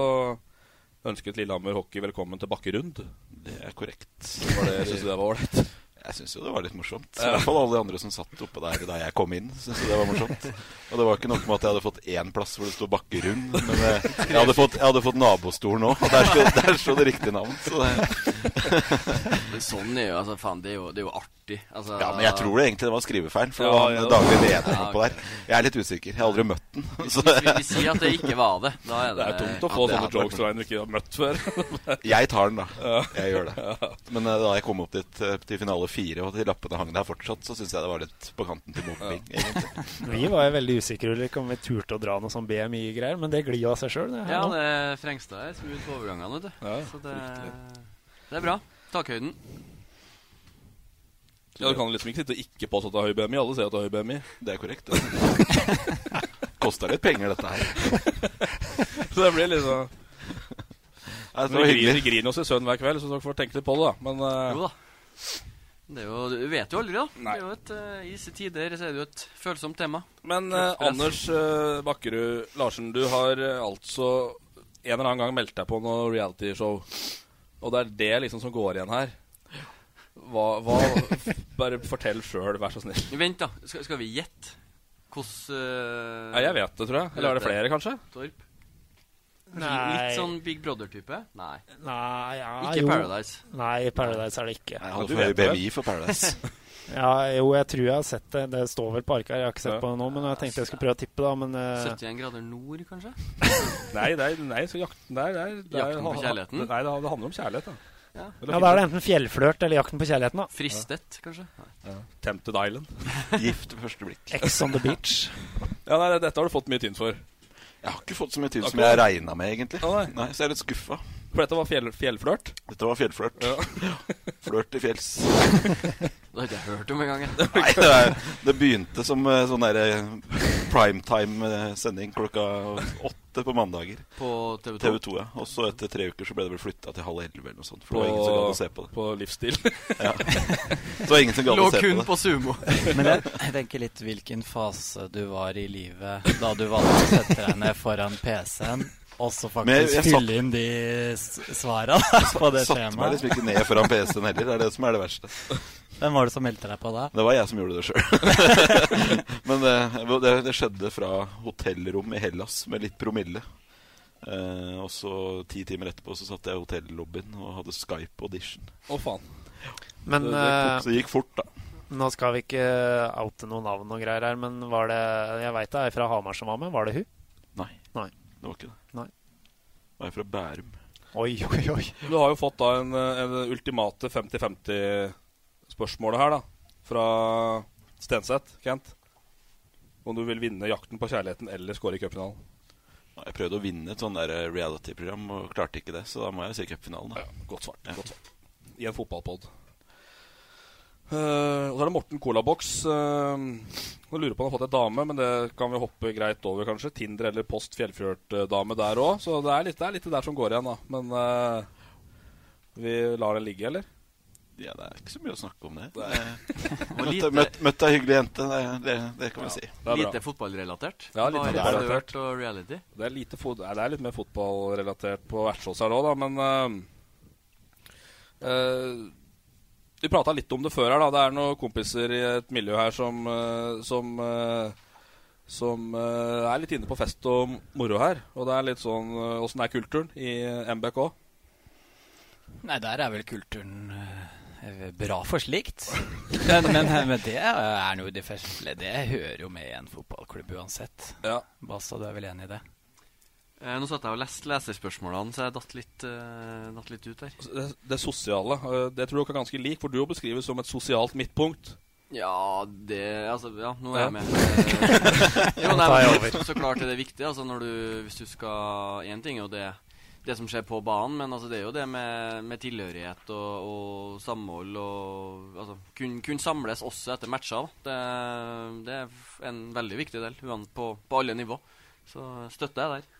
B: ønsket Lillehammer hockey velkommen til Bakkerund.
C: Det er korrekt.
B: Var det, synes du det var ålreit?
C: Jeg syns jo det var litt morsomt. I
B: Ja.
C: hvert fall alle de andre som satt oppe der da jeg kom inn, syntes jo det var morsomt. Og det var ikke nok med at jeg hadde fått én plass hvor det sto Bakkerund, men eh, jeg hadde fått, jeg hadde fått nabostolen òg, og der sto, der sto det riktige navn. Så det
E: Men Sånn er jo altså, faen, det er jo, det er jo artig. Altså,
C: Ja, men jeg tror det egentlig det var skrivefeil, for det
E: Ja,
C: var
E: ja.
C: en daglig leder
E: Ja,
C: oppå
E: ok.
C: der. Jeg er litt usikker. Jeg har aldri møtt den.
E: Hvis, hvis, vi- vi sier at det ikke var det, da er det
C: Det er tungt å
B: Å få
C: Ja, det
B: sånne
C: er
B: jokes fra en du ikke har møtt før.
C: Jeg tar den, da. Jeg gjør det. Men eh, da jeg kom opp dit eh, til finale fire, og de lappene hang der fortsatt, så syns jeg det var litt på kanten til mobbing, egentlig.
A: Vi var jo veldig usikre Ulrik, om vi turte å dra noe sånn BMI-greier, men det glir jo av seg sjøl.
E: Ja, det er Frengstad er smooth på overgangene, vet du. så det, det er bra. Takhøyden.
B: Ja, Du kan liksom ikke sitte og ikke påstå at du har høy BMI. Alle ser at du har høy BMI.
C: Det er korrekt. Kosta litt penger, dette her.
B: (laughs) så det blir liksom
C: Ja, det
B: Men Vi
C: var hyggelig.
B: griner, vi griner oss i søvn hver kveld, så dere får tenke litt på det, da. Men eh,
E: Jo da. Det er jo, du vet jo aldri, da.
B: Nei.
E: Det er jo et, eh, I disse tider så er det jo et følsomt tema.
B: Men eh, Anders eh, Bakkerud Larsen, du har eh, altså en eller annen gang meldt deg på noe realityshow. Og det er det liksom som går igjen her. Hva, hva (laughs) Bare fortell sjøl, vær så snill.
E: Vent, da. Skal, skal vi gjette hvordan eh,
B: Nei, jeg vet det, tror jeg. Eller er det flere, kanskje?
E: Torp?
A: Nei.
E: Litt sånn Big Brother-type? Nei.
A: Nei, ja,
E: Ikke
A: jo.
E: Paradise.
A: Nei, Paradise er det ikke.
C: Jeg hadde for høy BMI for Paradise.
A: ja, jo, jeg tror jeg har sett det. Det står vel på arket her. Jeg har ikke sett
B: Ja.
A: på det nå, men jeg tenkte jeg skulle prøve å tippe, da. Men eh,
E: 71 grader nord, kanskje?
B: Nei, nei, nei så jakten der, der, der
E: Jakten på
B: ha-
E: kjærligheten?
B: Nei, det, det handler om kjærlighet, da.
E: Ja.
A: ja, da er det enten fjellflørt eller Jakten på kjærligheten, da.
E: Fristet, kanskje? Nei.
B: Ja. Tempted Island.
C: (laughs) Gift ved første blikk.
A: Ex on the beach.
B: ja, nei, dette har du fått mye tynn for.
C: Jeg har ikke fått så mye tynn
B: Akkurat.
C: som jeg regna med, egentlig.
B: Å, nei.
C: Nei, så jeg er litt skuffa.
B: For dette var fjell, fjellflørt?
C: Dette var fjellflørt. (laughs) Flørt til fjells.
E: Det har ikke jeg hørt om engang.
B: (laughs)
E: jeg.
C: (laughs) Nei, det, er, det begynte som eh, sånn derre primetime-sending klokka åtte på mandager.
E: På TV2.
C: ja. Og så etter tre uker så ble det vel flytta til halv elleve eller noe sånt. For
B: På-
C: det var ingen som gadd å se på det.
B: På livsstil.
C: ja. (laughs) Så det var ingen som gadd å
E: Lå
C: se på det.
E: kun på sumo.
D: Men jeg, jeg tenker litt hvilken fase du var i livet da du valgte å sette deg ned foran PC-en og så faktisk
C: Men jeg- jeg satt-
D: fylle inn de s- svara da, på det
C: Satte meg
D: skjemaet.
C: liksom ikke ned foran PC-en heller. Det er det som er det verste.
D: Hvem var det som meldte deg på da?
C: Det var jeg som gjorde det sjøl. (laughs) Men eh, det, det, det skjedde fra hotellrom i Hellas med litt promille. Eh, og så ti timer etterpå så satt jeg i hotellobbyen og hadde Skype-audition.
B: (laughs) Å, faen.
A: (laughs) Men
C: det, det, tok-
A: eh,
C: så det gikk fort, da.
A: Nå skal vi ikke oute noen navn og greier her, men var det Jeg veit det er fra Hamar som var med. Var det hun?
C: Nei.
A: Nei.
C: Det var ikke det.
A: Nei.
C: Var jeg fra Bærum?
A: Oi, oi, oi.
B: Du har jo fått da en, en ultimate 50-50-spørsmålet her, da. Fra Stenseth, Kent. Om du vil vinne Jakten på kjærligheten eller skåre i cupfinalen.
C: Jeg prøvde å vinne et sånn der reality-program og klarte ikke det, så da må jeg jo si cupfinalen. da.
B: godt svart. godt svart. I en fotballpod. Eh, og så er det Morten Colabox. Uh, lurer på om han har fått ei dame, men det kan vi hoppe greit over, kanskje. Tinder eller Post Fjellfjørt-dame der òg. Så det er, litt, det er litt det der som går igjen, da. Men eh, vi lar den ligge, eller?
C: Ja, det er ikke så mye å snakke om det. (laughs)
E: Og
C: Møtte,
E: lite-
C: møtt, møtte ei hyggelig jente, det, det, det kan vi
B: Ja,
C: si.
B: det er bra.
E: Lite fotballrelatert.
B: Ja, lite
E: Bare
B: fotballrelatert.
E: flørt og reality.
B: Det er, lite fot Nei, det er litt mer fotballrelatert på Vertsås her òg, da, men eh, eh, Vi prata litt om det før her, da. Det er noen kompiser i et miljø her som eh, Som, eh, som eh, er litt inne på fest og moro her. Og det er litt sånn eh, Åssen er kulturen i MBK?
D: Nei, der er vel kulturen eh, bra for slikt. Men, men, (laughs) men det er noe de fleste Det hører jo med i en fotballklubb uansett.
B: Ja.
D: Basta, du er vel enig i det?
E: Eh, nå satt jeg og leste leserspørsmålene, så jeg datt litt, eh, datt litt ut der.
B: Det, det sosiale. eh, det tror jeg dere er ganske lik, for du jo beskrives som et sosialt midtpunkt.
E: Ja, det Altså, ja, nå er
B: Ja.
E: jeg med. Eh, (laughs) jo,
B: Nå
E: nei,
B: tar jeg
E: men,
B: over.
E: så klart er det viktig. Altså, når du, hvis du skal Én ting er jo det, det som skjer på banen, men altså, det er jo det med, med tilhørighet og, og samhold og altså, Kunne kun samles også etter matcher. da. Det, det er en veldig viktig del uan, på, på alle nivå. Så støtter jeg der.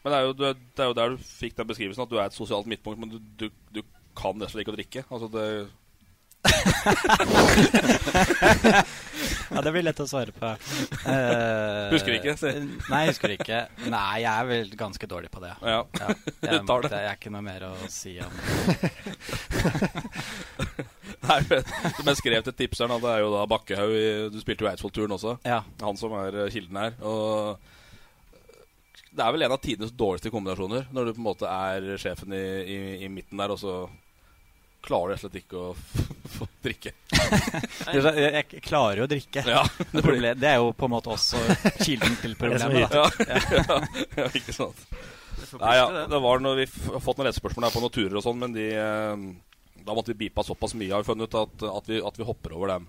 B: Men det er, jo, du, er- det er jo der du fikk den beskrivelsen, at du er et sosialt midtpunkt, men du, du, du kan nesten ikke å drikke. Altså, det
D: Ja, det blir lett å svare på. Eh,
B: (laughs) Husker ikke, si.
D: Nei, jeg husker ikke. Nei, jeg er vel ganske dårlig på det.
B: Ja.
D: jeg,
B: Tar det.
D: Jeg er ikke noe mer å si om
B: Nei, men- men skrev til tipseren at det er jo da Bakkehaug i- Du spilte jo Eidsvoll-turen også.
D: Ja.
B: Han som er eh, kilden her. Og det er vel en av tidenes dårligste kombinasjoner, når du på en måte er sjefen i, i, i midten der, og så klarer du rett og slett ikke å (laughs) få drikke.
D: Du sa, Jeg jeg klarer jo å drikke.
B: Ja.
D: Men proble- det er jo på en måte også kilden
B: (laughs)
D: til problemet.
B: Ja,
D: da.
B: ja, (laughs) ja, ikke sant. Nei, ja, det var noe, vi f- har fått noen rettspørsmål her på noen turer og sånn, men de, eh, da måtte vi beepa såpass mye, har vi funnet ut, at, at, vi, at vi hopper over dem.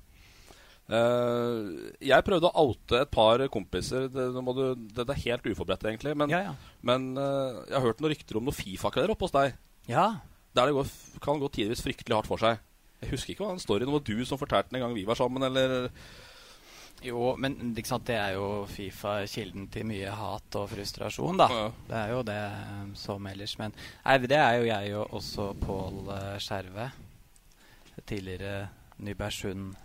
B: Eh, jeg prøvde å oute et par kompiser. Det, nå må du, det, det er helt uforberedt, egentlig. Men, men eh, jeg har hørt noen rykter om noen Fifa-kvelder oppe hos deg.
D: Ja.
B: Der det går, f- kan gå tidvis fryktelig hardt for seg. Jeg husker ikke hva den storyen var du som fortalte den en gang vi var sammen, eller
D: Jo, men ikke sant, det er jo Fifa kilden til mye hat og frustrasjon, da.
B: Ja.
D: Det er jo det um, som ellers. Men nei, det er jo jeg og også Pål eh, Skjerve. Tidligere Nybergsund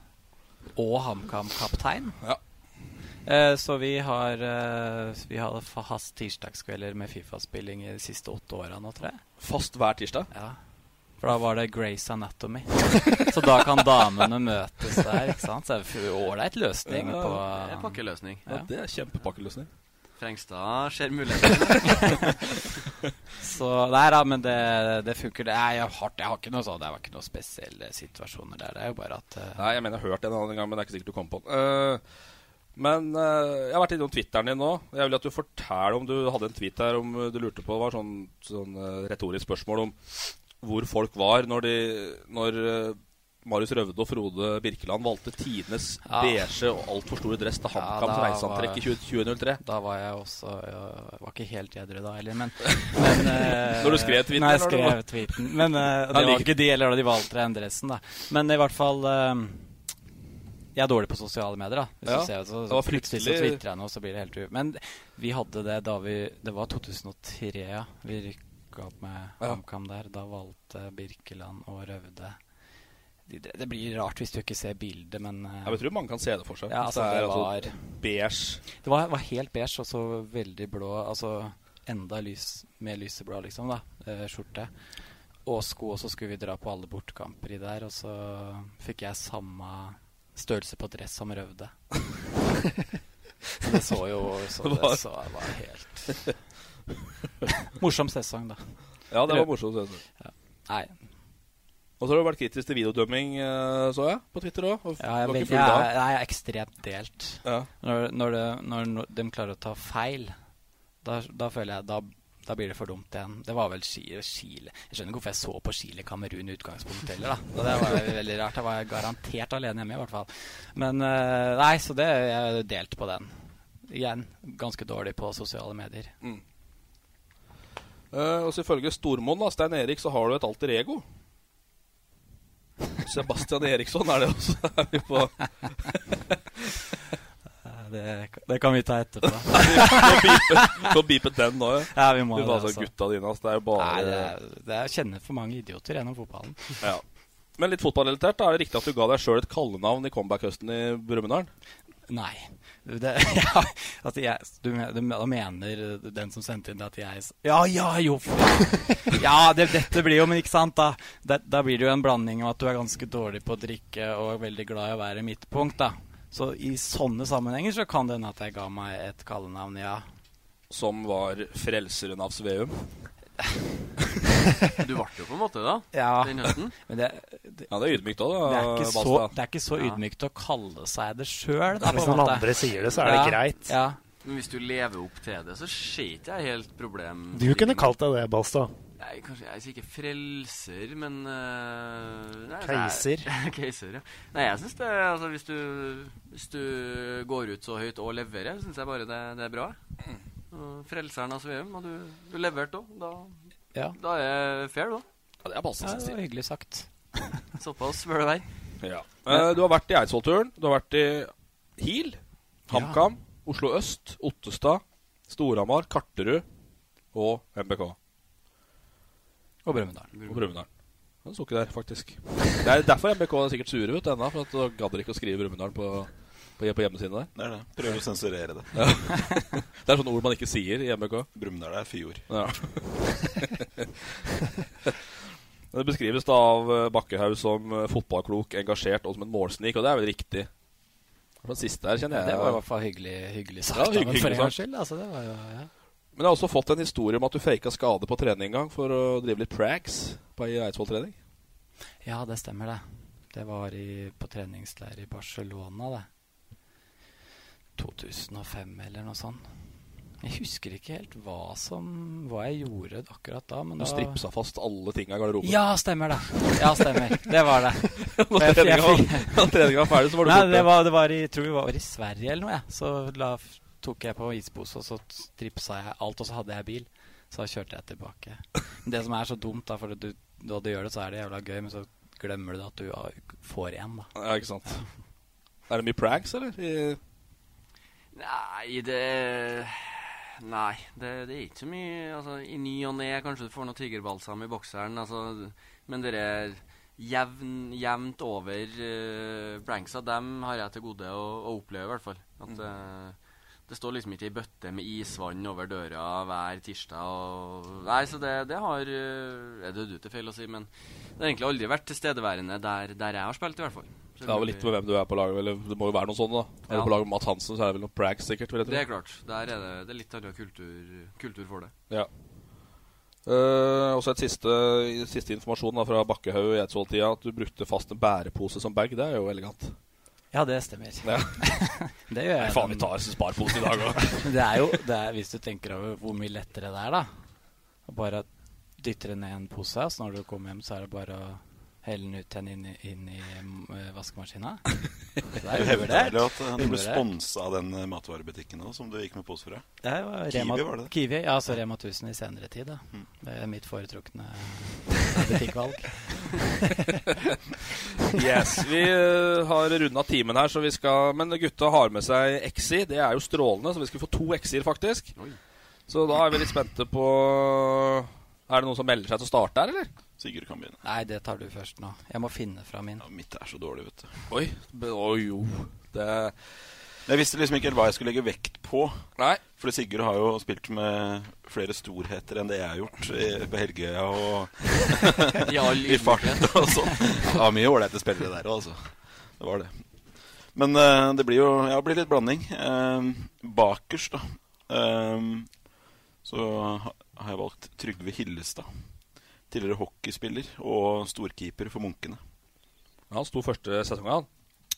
D: og HamKam-kaptein. Eh, Så vi har eh, Vi hadde fa- fast tirsdagskvelder med Fifa-spilling i de siste åtte åra nå, tror jeg.
B: Fast hver tirsdag?
D: Ja. For da var det Grace Anatomy. (laughs) Så da kan damene møtes der, ikke sant. Så det er en ålreit løsning
E: Ja,
D: på
E: det er pakkeløsning.
B: Ja, det er kjempepakkeløsning.
E: Frengstad ser mulighetene.
D: Så Nei da, men det, det funker. Det er jo hardt. Jeg har ikke noe sånn Det var ikke noen spesielle situasjoner der. Det er jo bare at eh,
B: Nei, jeg mener jeg har hørt det en annen gang, men det er ikke sikkert du kom på den. Eh, men eh, jeg har vært innom Twitteren din nå. Jeg vil at du forteller om du hadde en tweet her om eh, du lurte på Det var sånn, sånn eh, retorisk spørsmål om hvor folk var når, de, når eh, Marius Røvde og Frode Birkeland valgte tidenes
D: Ja.
B: beige og altfor store dress til HamKams
D: da
B: reiseantrekk i 20 2003.
D: Da var jeg også Jeg var ikke helt edru da heller,
B: (laughs)
D: men, men eh,
B: Når du skrev tweeten,
D: Nei, jeg
B: eller
D: skrev
B: når du-
D: tweeten. Men eh,
B: Ja,
D: det
B: like-
D: var ikke de eller de valgte den dressen, da. Men i hvert fall eh, Jeg er dårlig på sosiale medier, da. Hvis
B: Ja,
D: du ser, så,
B: det var
D: plutselig så
B: fryktelig-
D: twitrer jeg noe, så blir det helt u... Men vi hadde det da vi Det var 2003, ja. Vi rykka opp med
B: Ja.
D: HamKam der. Da valgte Birkeland og Røvde de, det, det blir rart hvis du ikke ser bildet, men eh,
B: Jeg tror mange kan se det for seg.
D: Ja,
B: Hvis
D: altså,
B: det
D: det,
B: er, altså,
D: var
B: beige.
D: Det var, var helt beige og så veldig blå. Altså enda lys, mer lyseblå, liksom, da. Eh, skjorte. Og sko, og så skulle vi dra på alle bortkamper i der, og så fikk jeg samme størrelse på dress som Røvde. så det så jo så
B: Det
D: det,
B: var-
D: så det var helt (laughs) Morsom sesong, da.
B: Ja, det var
D: Røv-
B: morsomt. synes jeg.
D: Nei.
B: Og så har du vært kritisk til videodømming, eh, så jeg, på Twitter òg.
D: Ja, jeg, vet- jeg, er- jeg er ekstremt delt. Når, når, det, når no- de klarer å ta feil, da, da føler jeg da, da blir det for dumt igjen. Det var vel Chile, Chile. Jeg skjønner ikke hvorfor jeg så på Chile-Kamerun i utgangspunktet heller. da. Og det var jo veldig rart. Da var jeg garantert alene hjemme, i hvert fall. Men eh, nei, så det jeg er delt på den. Igjen, ganske dårlig på sosiale medier.
B: Mm. Eh, og så ifølge Stormoen, da, Stein Erik, så har du et alter ego. (laughs) Sebastian Eriksson er det også. (laughs) Er vi
D: (laughs)
B: på
D: Eh, Det, kan vi ta etterpå. (laughs)
B: Få beepet den nå,
D: Ja, vi må
B: Fy
D: det,
B: faen, så
D: altså.
B: Gutta dine, ass. Det er jo bare
D: Nei, det er, det er, jeg kjenner for mange idioter gjennom fotballen.
B: Ja. Men litt fotballrelatert, da er det riktig at du ga deg sjøl et kallenavn i comeback-høsten i Brumunddal?
D: Nei. Det, (laughs) ja, altså jeg, du, men- du, da mener den som sendte inn det, at jeg s- Ja, ja, jo! f- Ja, det, dette blir jo Men ikke sant, da? Da, da blir det jo en blanding av at du er ganske dårlig på å drikke og veldig glad i å være midtpunkt, da. Så i sånne sammenhenger så kan det hende at jeg ga meg et kallenavn, ja.
B: Som var Frelseren av Sveum?
E: Du ble jo på en måte da,
D: Ja.
E: den høsten.
D: Men det,
B: Ja, det er ydmykt òg,
D: Det er,
B: da.
D: ikke så,
B: Balstad.
D: det er ikke så ydmykt å kalle seg det sjøl.
A: (laughs) Hvis noen andre sier det, så er det greit.
D: Ja.
E: Men hvis du lever opp til det, så ser ikke jeg helt problem.
A: Du kunne kalt deg det, Balstad.
E: Nei, kanskje jeg er ikke frelser, men øh, nei,
A: Keiser.
E: nei, Keiser, (laughs) ja. Nei, jeg syns det Altså, hvis du, hvis du går ut så høyt og leverer, syns jeg bare det, det er bra. Og Frelseren av Sveum, og du, du leverte òg. Da,
D: Ja.
E: da er jeg fair, da.
B: Ja, det er
D: Ja, det var hyggelig sagt.
E: Såpass var det der.
B: Ja. Eh, du har vært i Eidsvollturen. Du har vært i Hil, HamKam, Oslo øst, Ottestad, Storhamar, Karterud og MBK.
D: Og Brumunddal.
B: Og Brumunddal. Han sto ikke der, faktisk. Det er derfor MBK er sikkert sure vet du, ennå, for at de gadd ikke å skrive Brumunddal på, på, på hjemmesiden der.
C: Det er det. Prøver å sensurere det.
B: Ja. det er sånne ord man ikke sier i MBK.
C: Brumunddal er fyord.
D: (laughs)
B: Ja. Det beskrives da av eh, Bakkehaug som eh, fotballklok, engasjert og som en målsnik, og det er vel riktig. Det var Den siste her, kjenner jeg.
D: Det var i hvert fall hyggelig, hyggelig sagt.
B: Ja,
D: da, men
B: hyggelig
D: for en gangs
B: sagt.
D: skyld, altså, det var jo, ja.
B: Men jeg har også fått en historie om at du faka skade på trening en gang for å drive litt prags på ei Eidsvoll-trening.
D: ja, det stemmer, det. Det var i, på treningsleir i Barcelona, det. 2005 eller noe sånt. Jeg husker ikke helt hva, som, hva jeg gjorde akkurat da. Men
B: Du
D: da...
B: stripsa fast alle tinga i garderoben.
D: Ja, stemmer det. Ja, stemmer. Det var det.
B: Når
D: Jeg- jeg
B: treninga var-
D: fikk-
B: når treninga var ferdig, så var du
D: Nei,
B: borte.
D: Det var, det var i, jeg tror vi var i Sverige eller noe, jeg. Så la, tok jeg på ispose, og så stripsa jeg alt, og så hadde jeg bil. Så da kjørte jeg tilbake. Men det som er så dumt, da, for at du, når du gjør det, så er det jævla gøy, men så glemmer du det at du har- får igjen, da.
B: Ja, ikke sant. Er det mye prags, eller? I-
E: Nei, det Nei, det, det er ikke så mye altså, I ny og ne kanskje du får noe tigerbalsam i bokseren, altså, men det er jevn, jevnt over uh, blanksa, dem har jeg til gode å, å oppleve, i hvert fall. At,
B: Mm.
E: eh, det står liksom ikke ei bøtte med isvann over døra hver tirsdag. Og, nei, så det, det har eh, Er det du til feil å si, men det har egentlig aldri vært tilstedeværende der, der jeg har spilt, i hvert fall. Så
B: Det er vel litt med hvem du er på lag Eller det må jo være noe sånn, da. Er du
E: Ja.
B: på lag med Matt Hansen, så er det vel noe prags, sikkert. Vil jeg tro.
E: Det er klart. Der er det, det er litt annen kultur, kultur for det.
B: Ja. Eh, også et siste, siste informasjon da, fra Bakkehaug i Eidsvoll-tida. At du brukte fast en bærepose som bag. Det er jo elegant.
D: Ja, det stemmer.
B: Ja.
D: (laughs) det gjør jeg.
B: Nei, faen, vi tar oss en sparepose i dag også.
D: Men det er jo, det er, hvis du tenker over hvor mye lettere det er, da. Og Bare dytter det ned i en pose, og så når du kommer hjem, så er det bare å helle den ut igjen inn, i- inn i mm, (laughs) vaskemaskina. Det
C: Du
D: er
C: hevder vel at eh,
D: uvurdert.
C: du ble
D: Uvurdert.
C: sponsa av den eh, matvarebutikken også, som du gikk med pose fra?
D: Det er jo Rema,
C: Kiwi var det. Mm.
D: Kiwi, ja, altså Rema 1000 i senere tid. Da. Det er mitt foretrukne (laughs) butikkvalg.
B: Yes, Vi eh, har runda timen her, så vi skal Men gutta har med seg Exi. Det er jo strålende, så vi skal få to Exi-er, faktisk. Så da er vi litt spente på Er det noen som melder seg til å starte her, eller?
C: Sigurd kan begynne.
D: Nei, det tar du først nå. Jeg må finne fra min.
C: mitt er så dårlig, vet du.
B: Oi. Oi, jo. Det
C: Jeg visste liksom ikke helt hva jeg skulle legge vekt på.
B: Nei.
C: Fordi Sigurd har jo spilt med flere storheter enn det jeg har gjort i- på Helgøya og
E: I all
C: i fart (laughs)
E: ydmykhet.
C: og sånn. Det var mye ålreite spillere der òg, altså. Det var det. Men eh, det blir jo Ja, det blir litt blanding. Eh, bakerst, da, eh, så ha- har jeg valgt Trygve Hillestad. tidligere hockeyspiller og storkeeper for Munkene.
B: Han sto første sesongen, han?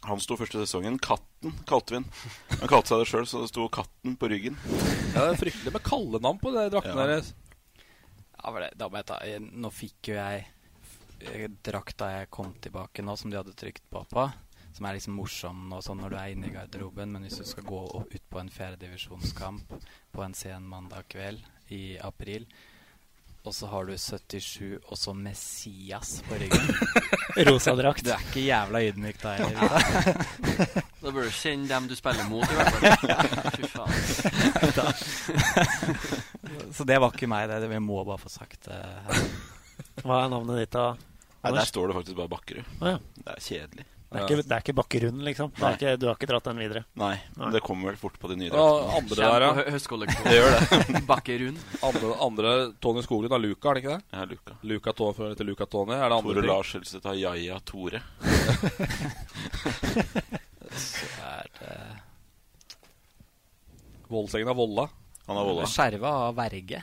C: Han sto første sesongen. Katten kalte vi han. Han kalte seg det sjøl, så det sto Katten på ryggen.
B: Ja, det er fryktelig med kallenavn på de draktene
C: Ja.
B: deres.
D: Ja, var det, da må jeg ta jeg- Nå fikk jo jeg eh, drakt da jeg kom tilbake nå, som de hadde trykt på på. Som er liksom morsom og sånn når du er inne i garderoben, men hvis du skal gå opp- ut på en fjerdedivisjonskamp på en sen mandag kveld i april, og så har du 77 og så Messias på (laughs) ryggen
A: Rosa drakt.
D: Du er ikke jævla ydmyk (laughs) da heller.
E: Da bør du kjenne dem du spiller mot, i hvert
C: (laughs)
E: fall. Fy faen.
D: Da. Så det var ikke meg, det. det- Vi må bare få sagt eh, det.
A: Hva er navnet ditt, da?
C: Nei,
A: Anders?
C: der står det faktisk bare Bakkerud.
A: Å, ja.
C: Det er kjedelig.
A: Det er ikke, det er ikke Bakkerund, liksom? Det
C: Nei.
A: er ikke, du har ikke dratt den videre?
C: Nei, men det kommer vel fort på de nye
B: Og andre der, ja.
C: Det gjør det.
B: Andre, andre Tony Skoglund har Luca, er det ikke det?
C: Ja, Luca.
B: Luca Tå- før etter Luca Tony. Er det andre
C: Tore
B: ting?
C: Lars Helseth har Jaja Tore.
D: Så er det
B: Voldsengen har Volla.
C: Han har Volla.
D: Skjerva av verge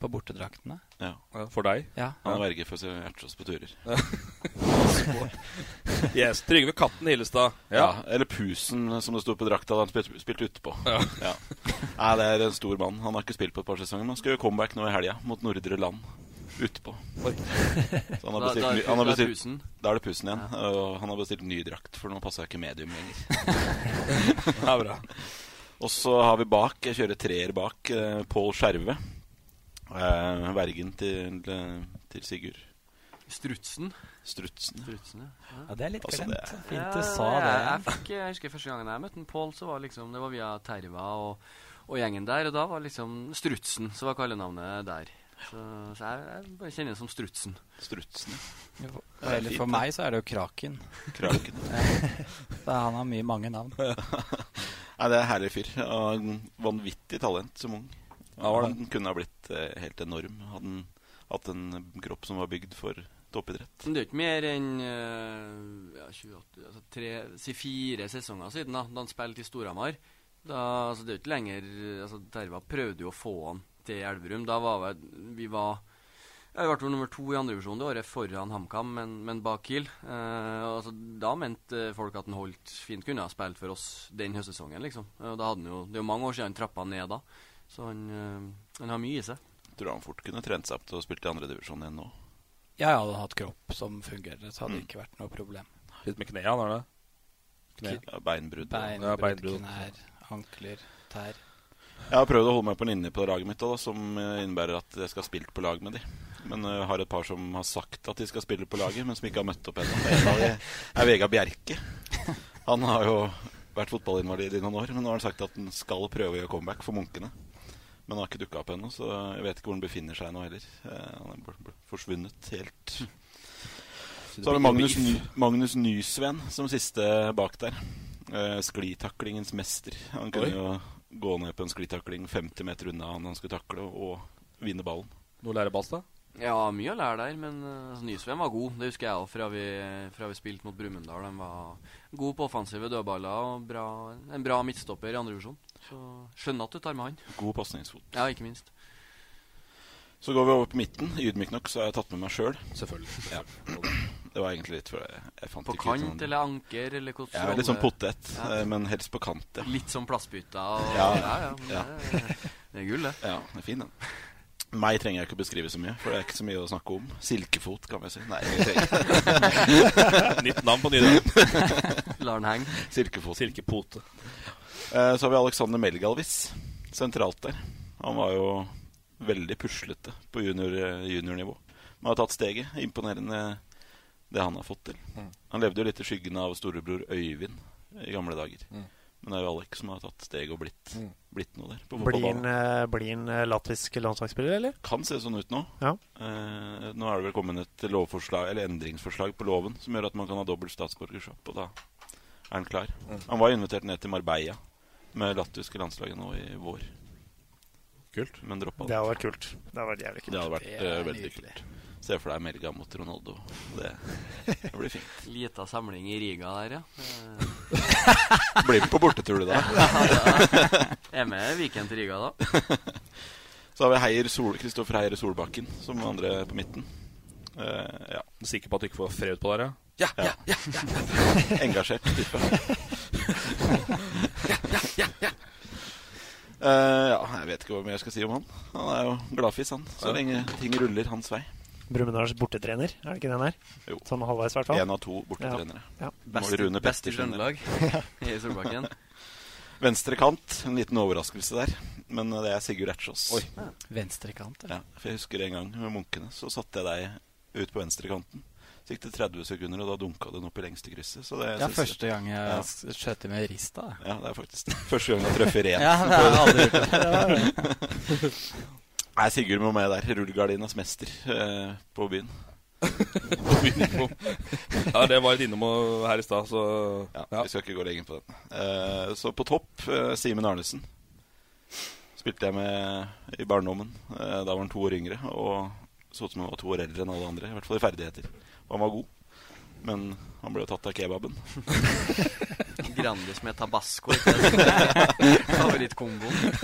D: på bortedraktene.
C: Ja.
B: For
C: (laughs)
B: deg?
D: Ja.
C: Han er verge for å hjertet oss på turer.
B: yes, Trygve Katten Hillestad.
C: Ja. Eller Pusen, som det sto på drakta da han spilte spilt utepå.
B: Ja.
C: Nei, det er en stor mann. Han har ikke spilt på et par sesonger, men han skal gjøre comeback nå i helga mot Nordre Land. Utepå. Så han har
E: Da-
C: bestilt,
E: da er
C: ny-
E: Pu-
C: han har
E: da er
C: bestilt,
E: Pusen.
C: da er det Pusen igjen. Og han har bestilt ny drakt, for nå passer jeg ikke medium lenger.
B: Det er bra.
C: Og så har vi bak, jeg kjører treer bak, eh, Pål Skjerve. Eh, vergen til, eh, til Sigurd.
E: Strutsen.
C: Strutsen.
E: Strutsen, ja.
D: Ja, det er litt
C: Altså,
D: glemt.
C: det-
D: Fint du sa det.
E: Jeg, jeg, fikk, jeg husker første gangen jeg møtte en Pål, så var liksom, det var via Terva og, og gjengen der. Og da var liksom Strutsen som var kallenavnet der. Så, så jeg, jeg bare kjenner det som Strutsen.
C: Strutsen,
D: Jo, Eller for meg så er det jo Kraken.
C: Kraken.
D: Ja. Så han har mye mange navn.
C: Nei, det er en herlig fyr. og en Vanvittig talent som ung.
B: var det.
C: Han kunne ha blitt eh, helt enorm. Hadde han hatt en kropp som var bygd for toppidrett.
E: Men det er jo ikke mer enn eh, ja, 28, altså tre, si fire sesonger siden da, da han spilte i Storhamar. Da, altså det er jo ikke lenger altså Terva prøvde jo å få han til Elverum. Da var vel- vi var ja, Vi ble vel nummer to i andre divisjon det året, foran HamKam, men, men bak Kiel. Eh, altså, da mente folk at han holdt fint kunne ha spilt for oss den høstsesongen, liksom. Eh, Og da hadde han jo, det er jo mange år siden han trappa ned da, så han, eh, han har mye i seg.
C: Tror han fort kunne trent seg opp til å spille i andredivisjon igjen nå.
D: Ja, jeg hadde hatt kropp som fungerer, så
C: Mm.
D: hadde det ikke vært noe problem.
B: Litt med knærne, har det? Kne.
C: Ja, beinbrudd.
B: Ja,
D: Beinbrudd,
B: beinbrudd.
D: knær, ankler, tær.
C: Jeg har prøvd å holde meg på linje på laget mitt, da, da, som eh, innebærer at jeg skal ha spilt på lag med de. Men eh, jeg har et par som har sagt at de skal spille på laget, men som ikke har møtt opp ennå. En av de er Vegard Bjerke. Han har jo vært fotballinvalid i noen år, men nå har han sagt at han skal prøve å gjøre comeback for munkene. Men han har ikke dukka opp ennå, så jeg vet ikke hvor han befinner seg nå heller. Eh, Han er bl- bl- forsvunnet helt. Så har vi Magnus, Ny Magnus Nysven som siste bak der. Eh, sklitaklingens mester. Han kunne
B: Oi.
C: jo gå ned på en sklitakling 50 meter unna han han skulle takle, og vinne ballen.
B: Noe lærebass, da?
E: Ja, mye å lære der, men eh, altså, Nysveen var god. Det husker jeg òg fra, vi- fra vi spilte mot Brumunddal. De var god på offensive dødballer og bra, en bra midtstopper i andre divisjon. Så skjønner at du tar med han.
C: God pasningsfot.
E: Ja, ikke minst.
C: Så går vi over på midten. Ydmyk nok så har jeg tatt med meg sjøl.
B: Selvfølgelig.
C: Ja. Det var egentlig litt for jeg, jeg fant
E: På
C: ikke ut
E: kant
C: noen-
E: eller anker eller hvordan
C: Jeg er litt sånn
E: rolle-
C: potet,
E: Ja.
C: eh, men helst på kant, ja.
E: Litt som plastbytter og
C: Ja,
E: ja, ja. men
C: ja.
E: Det, er- det er gull, det.
C: Ja, den er fin, den. Meg trenger jeg ikke beskrive så mye, for det er ikke så mye å snakke om. Silkefot, kan vi si. Nei, jeg
E: (laughs)
C: trenger
B: (laughs) Nytt navn på nydrakt.
E: Lar den henge.
C: Silkefot. Eh, Så har vi Alexander Melgalvis sentralt der. Han var jo veldig puslete på junior, eh, juniornivå. Men har tatt steget. Imponerende det han har fått til.
B: Mm.
C: Han levde jo litt i skyggen av storebror Øyvind i gamle dager.
B: Mm.
C: Men det er jo Alex som har tatt steget og blitt,
B: Mm.
C: blitt noe der. På
A: Blir
C: fotballbanen.
A: han eh, blir han, eh, latvisk landslagsspiller, eller?
C: Kan se sånn ut nå.
A: Ja.
C: Eh, nå er det vel kommet et lovforslag, eller endringsforslag på loven som gjør at man kan ha dobbelt statsborgerskap, og da er han klar.
B: Mm.
C: Han var invitert ned til Marbella med latviske landslaget nå i vår. Kult. Men droppa
A: Det hadde vært kult. Det hadde vært jævlig kult.
C: Det hadde vært
A: Det
C: eh,
A: er
C: veldig
A: nydelig.
C: kult. Se for deg Melga mot Ronaldo. Det,
A: (laughs)
C: det blir fint.
E: Lita samling i Riga
C: (laughs)
E: der, ja.
C: Blir med på bortetur, du, da.
E: er med Viken til Riga, da.
C: Så har vi Heier Sol, Kristoffer Heier Solbakken som andre på midten. Eh, ja.
B: Sikker på at du ikke får fred på deg?
C: Ja, ja, ja, ja. Engasjert type. ja, ja, ja, ja. Eh, ja, jeg vet ikke hvor mye jeg skal si om han. Han er jo gladfis, han. Så
A: Ja.
C: lenge ting ruller hans vei.
A: Brumunddals bortetrener, er det ikke det han er?
C: Jo.
A: Sånn halvveis, i hvert fall.
C: En av to bortetrenere.
A: Ja.
C: Må Rune
E: best i
C: Pettersen, (laughs)
E: Trøndelag
C: eller?
E: i Solbakken.
C: Venstre kant. En liten overraskelse der. Men eh, det er Sigurd Ertsås.
D: Ja. Venstrekant,
C: ja. For jeg husker en gang med Munkene, så satte jeg deg ut på venstrekanten. Så gikk det 30 sekunder, og da dunka den opp i lengste krysset. Så
D: Det
C: det
D: er
C: synes jeg-
D: første gang jeg
C: Ja.
D: s- skjøt med rista.
C: Ja, det er faktisk den første gang jeg har
A: (laughs)
C: truffet ren.
D: Ja, det har jeg aldri
C: (laughs)
D: gjort. Det var det.
C: Nei, Sigurd må med der. Rullegardinas mester eh, på byen. på byen på.
B: Ja, det var et innom og- her i stad, så
C: ja, Vi skal ikke gå lenger på den. Eh, så på topp eh, Simen Arnesen. Spilte jeg med i barndommen. Eh, da var han to år yngre og så ut som han var to år eldre enn alle andre. I hvert fall i ferdigheter. Og han var god. Men han ble jo tatt av kebaben.
E: Grandis med
C: (laughs)
E: tabasco. ikke sant? Favorittkomboen.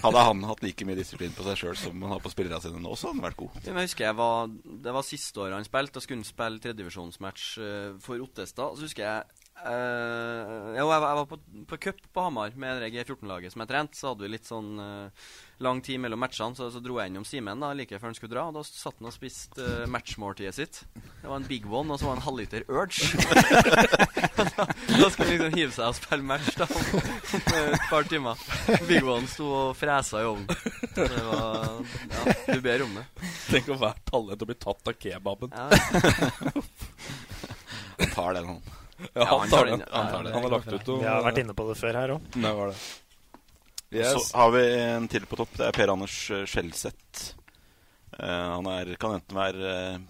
C: Hadde han hatt like mye disiplin på seg sjøl som han har på spillerne sine nå, så hadde han vært god.
E: Ja, men Jeg husker jeg var, Det var siste året han spilte. Da skulle han spille tredjevisjonsmatch eh, for Ottestad. Så husker jeg eh, Jo, jeg var, jeg var på, på cup på Hamar med det G14-laget som jeg trente. Så hadde vi litt sånn eh, lang tid mellom matchene, så, så dro jeg innom Simen da, like før han skulle dra. Og da satt han og spiste eh, matchmåltidet sitt. Det var en big one, og så var det en halvliter Urge. (laughs) da, da skulle han liksom hive seg og spille match da om eh, et par timer. Big one sto og fresa i ovnen. Så det var Ja, du ber om det.
B: Tenk å være talent og bli tatt av kebaben.
C: han tar den, han.
B: Ja, han tar den. Han, har lagt ut
A: Vi har vært inne på det før her òg.
B: Nei, var det. Yes.
C: Så har vi en til på topp. Det er Per Anders eh, Skjelseth. Eh, han er, kan enten være eh,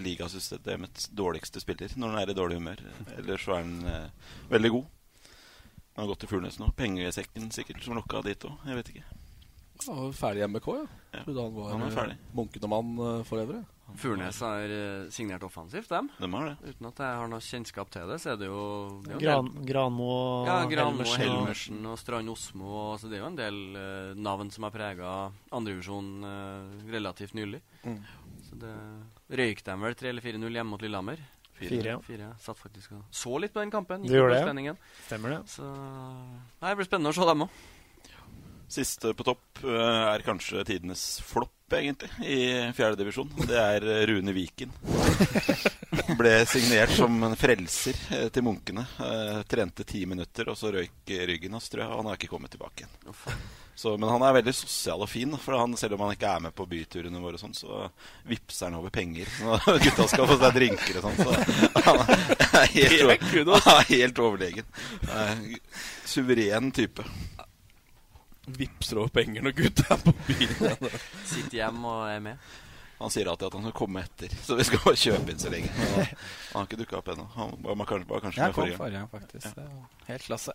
C: ligasystemets dårligste spiller når han er i dårlig humør, eller så er han eh, veldig god. Han har gått til Furnes nå. Pengesekken sikkert som lokka dit òg. Jeg vet ikke.
B: Han var ferdig i MBK, ja. Trodde han var,
C: Han er ferdig.
B: eh, munkende mann eh, for evig.
E: (laughs) Furnes har eh, signert offensivt, dem.
C: Dem har
E: Uten at jeg har noe kjennskap til det, så er det jo det er jo en
A: Gran,
E: del-
A: Granmo og
E: ja, Granmo,
A: Helmersen og-
E: Helmersen og Strand Osmo. og- Altså, det er jo en del eh, navn som har prega andrevisjonen uh, relativt nylig.
A: Mm.
E: Så det røyk dem vel 3 eller 4-0 hjemme mot Lillehammer.
A: Fire. Fire, ja.
E: Fire, Satt faktisk og så litt på den kampen.
A: Du gjorde
E: på
A: det, ja.
E: spenningen.
A: Stemmer det.
E: Så Nei, det blir spennende å se dem òg.
C: Siste på topp eh, er kanskje tidenes flopp, egentlig, i fjerdedivisjon. Det er eh, Rune
B: (laughs)
C: Viken. Ble signert som en frelser eh, til Munkene. Eh, Trente ti minutter, og så røyk eh, ryggen hans, tror jeg. Og han har ikke kommet tilbake igjen. Så, men han er veldig sosial og fin, da, for han, selv om han ikke er med på byturene våre, og sånn, så vippser han over penger når (laughs) gutta skal få seg drinker og sånn. Så han er helt,
B: Det er kudos.
C: han er helt overlegen. Eh, Suveren type.
B: Vipser over penger når gutta er på byen.
E: Sitter hjemme og er med.
C: Han sier alltid at han skal komme etter, så vi skal bare kjøpe inn så lenge. Men Han han har ikke dukka opp ennå. Han var, var kanskje, var kanskje
D: Jeg
C: med
D: kom
C: forrige gang.
D: forrige gang, faktisk. Det var Helt klasse.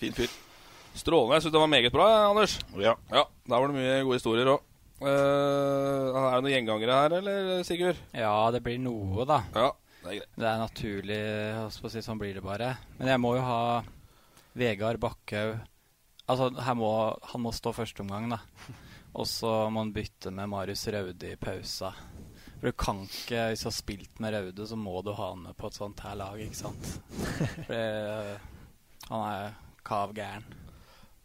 C: Fin fyr.
B: (laughs) Strålende. Jeg syns det var meget bra, Anders.
C: Ja.
B: Der var det mye gode historier òg. er det noen gjengangere her, eller, Sigurd?
D: Ja, det blir noe, da.
B: Ja, Det er greit.
D: Det er naturlig, holdt på å si, sånn blir det bare. Men jeg må jo ha Vegard Bakkhaug Altså, her må, han må stå første omgang, da. Og så må han bytte med Marius Raude i pausa. For du kan ikke, hvis du har spilt med Raude, så må du ha han med på et sånt her lag, ikke sant. For det, han er kav gæren.